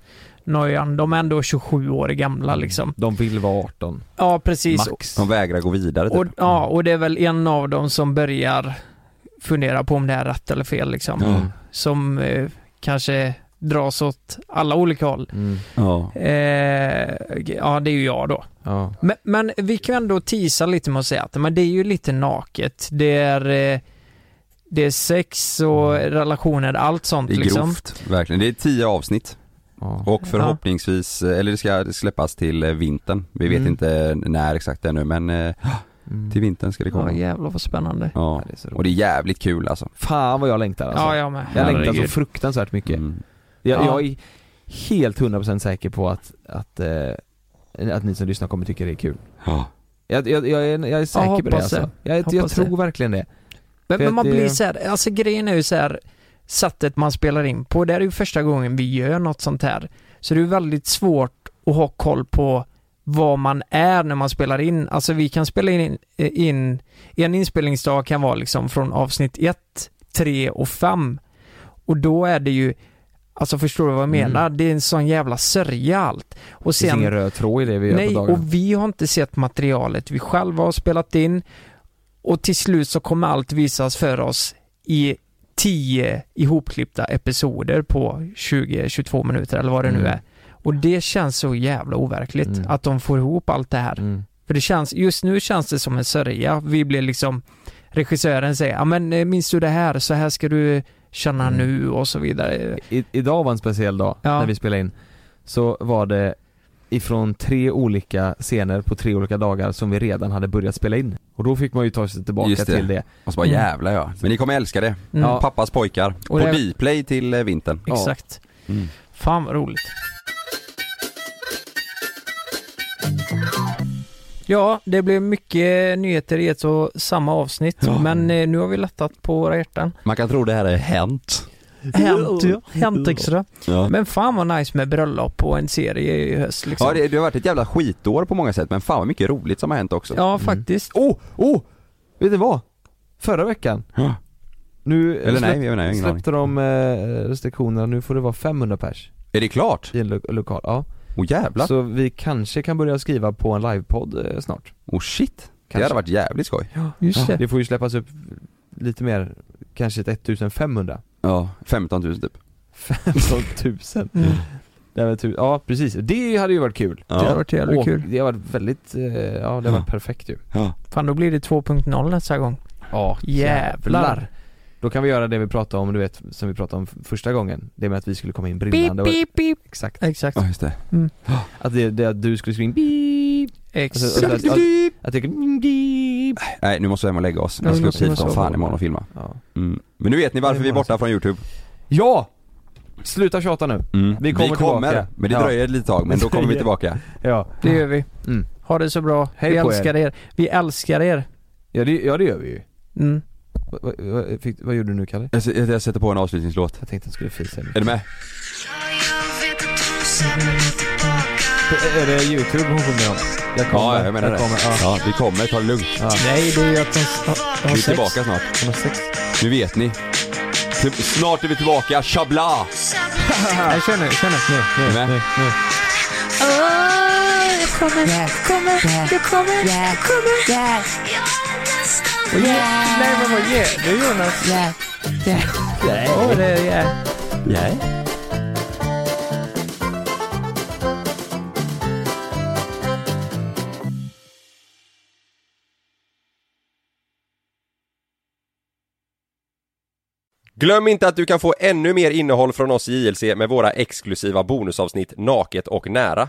S1: Noyan. De är ändå 27 år
S2: Mm.
S1: gamla liksom.
S3: De vill vara 18,
S1: Ja, precis.
S3: max.
S2: De vägrar gå vidare typ.
S1: Och, ja, och det är väl en av dem som börjar fundera på om det är rätt eller fel liksom.
S3: Mm.
S2: Ja.
S1: Som eh, kanske dras åt alla olika håll.
S3: Mm.
S2: Ja.
S1: Eh, ja, det är ju jag då.
S3: Ja.
S1: Men, men vi kan ändå tisa lite med att säga att men det är ju lite naket. Det är, eh, det är sex och relationer, allt sånt
S2: Mm. Det är
S1: liksom.
S2: grovt, verkligen. Det är tio avsnitt
S3: Ja.
S2: och förhoppningsvis, eh, eller det ska släppas till eh, vintern. Vi vet
S3: Mm.
S2: inte när exakt ännu men eh,
S3: Mm.
S2: till vintern ska det
S1: Ja,
S2: komma.
S1: jävlar vad spännande.
S2: Ja.
S3: Ja, det är så
S2: Och
S3: roligt.
S2: det är jävligt kul alltså.
S3: Fan vad jag längtar alltså.
S1: ja, jag med.
S3: Jag längtar
S1: Herregud.
S3: så fruktansvärt mycket.
S2: Mm.
S3: Jag,
S1: Ja.
S3: jag är helt 100% säker på att, att, eh, att ni som lyssnar kommer tycka det är kul.
S2: Ja.
S3: Jag, jag, jag, är, jag är säker på det
S1: hoppas det.
S3: alltså. Jag, jag
S1: Hoppas det.
S3: tror verkligen det.
S1: Men,
S3: För
S1: men
S3: att
S1: man
S3: det-
S1: blir så här, alltså grejen är ju så här sättet man spelar in på, det här är ju första gången vi gör något sånt här. Så det är ju väldigt svårt att ha koll på vad man är när man spelar in. Alltså vi kan spela in, eh, in en inspelningsdag kan vara liksom från avsnitt 1, 3 och 5. Och då är det ju, alltså förstår du vad jag
S3: Mm.
S1: menar? Det är en sån jävla sörja allt. Och
S3: Det finns
S1: sen
S3: ingen röd tråd i det vi gör
S1: Nej,
S3: på dagarna.
S1: och vi har inte sett materialet vi själva har spelat in och till slut så kommer allt visas för oss i 10 ihopklippta episoder på 20-22 minuter eller vad det nu
S3: Mm.
S1: är. Och det känns så jävla overkligt
S3: Mm.
S1: att de får ihop allt det här.
S3: Mm.
S1: För det känns, just nu känns det som en sörja. Vi blir liksom, regissören säger, ja men eh, minns du det här? Så här ska du känna
S3: Mm.
S1: nu och så vidare.
S3: I, idag var en speciell dag
S1: Ja.
S3: när vi spelade in. Så var det ifrån tre olika scener på tre olika dagar som vi redan hade börjat spela in. Och då fick man ju ta sig tillbaka
S2: Just det.
S3: till det.
S2: Och så Alltså, bara
S1: Mm.
S2: jävlar ja. Men ni kommer älska det.
S1: Mm.
S3: Ja.
S2: Pappas pojkar.
S1: Och
S2: på
S1: det-
S2: Dplay till eh, vintern.
S3: Ja.
S1: Exakt.
S2: Mm.
S1: Fan vad roligt. Ja, det blev mycket nyheter i ett och samma avsnitt,
S2: Ja.
S1: men eh, nu har vi lättat på våra hjärtan.
S2: Man kan tro det här är hänt.
S1: Hänt, ja. Hänt extra.
S2: Ja.
S1: Men fan vad nice med bröllop och en serie i höst liksom.
S2: Ja det, det har varit ett jävla skitår på många sätt men fan vad mycket roligt som har hänt också.
S1: Ja, faktiskt.
S3: Oh, oh! Vet du vad? Förra veckan,
S2: Ja.
S3: nu
S2: Eller
S3: släpp-
S2: nej, jag menar, jag har ingen aning.
S3: släppte de eh, restriktionerna, nu får det vara 500 pers
S2: Är det klart?
S3: i en lo- lokal. Ja.
S2: Åh jävlar.
S3: Så vi kanske kan börja skriva på en livepodd eh, snart.
S2: Åh shit. Det
S3: Kanske.
S2: hade varit jävligt skoj.
S1: Just det.
S3: Det får ju släppas upp lite mer, kanske ett 1500.
S2: Ja, 15 000 typ.
S3: 15 000.
S1: Mm.
S3: Det är väl typ, ja precis, det hade ju varit kul.
S1: Det hade varit jävligt
S3: Och
S1: kul.
S3: Det har varit väldigt, eh, ja det har varit perfekt ju.
S2: Ja.
S1: Fan, då blir det 2.0 nästa gång.
S3: Ja,
S1: Jävlar.
S3: Då kan vi göra det vi pratade om, du vet, som vi pratade om f- första gången. Det med att vi skulle komma in brinnande
S1: Beep,
S3: och,
S1: beep, beep.
S3: exakt.
S1: Exakt.
S2: Ja just det.
S3: Att det, det att du skulle skriva in beep,
S1: Exakt.
S3: Alltså, alltså, att jag kunde beep.
S2: Nej nu måste vi hem och lägga oss.
S1: Ja,
S2: Jag ska upp
S1: nu måste vi
S2: hit som
S1: sova.
S2: fan imorgon och filma.
S3: Ja.
S2: Mm. Men nu vet ni varför vi är borta från youtube.
S3: ja! Sluta tjata nu.
S2: Mm.
S3: Vi kommer tillbaka.
S2: men det
S3: Ja.
S2: dröjer ett litet tag men då kommer vi tillbaka.
S3: Ja.
S1: Det gör vi.
S3: Mm.
S1: Ha det så bra.
S3: Hej
S1: vi
S3: på er.
S1: älskar er. Vi älskar er.
S3: Ja, det, ja det gör vi ju.
S1: Mm.
S3: Vad, vad, vad, fick, vad gjorde du nu Kalle?
S2: Jag, s- jag sätter på en avslutningslåt.
S3: Jag tänkte att du skulle fisa.
S2: Är du med?
S3: Är det youtube hon sjunger om? Jag kommer,
S2: Ja, jag menar
S3: jag kommer,
S2: det.
S3: ja.
S2: Ja, vi kommer, ta det lugnt.
S1: Nej, det är ju att de har, har
S2: Vi är
S1: sex.
S2: tillbaka snart.
S3: Hon har sex.
S2: Nu vet ni. Typ, Snart är vi tillbaka, chabla!
S1: Nej, kör nu, kör nu.
S2: Är du med?
S4: Jag kommer, jag kommer, jag kommer, jag kommer.
S1: Nej, men vad gör du Jonas? Åh, det är uh, yeah.
S2: Yeah.
S5: Glöm inte att du kan få ännu mer innehåll från oss i JLC med våra exklusiva bonusavsnitt Naket och nära.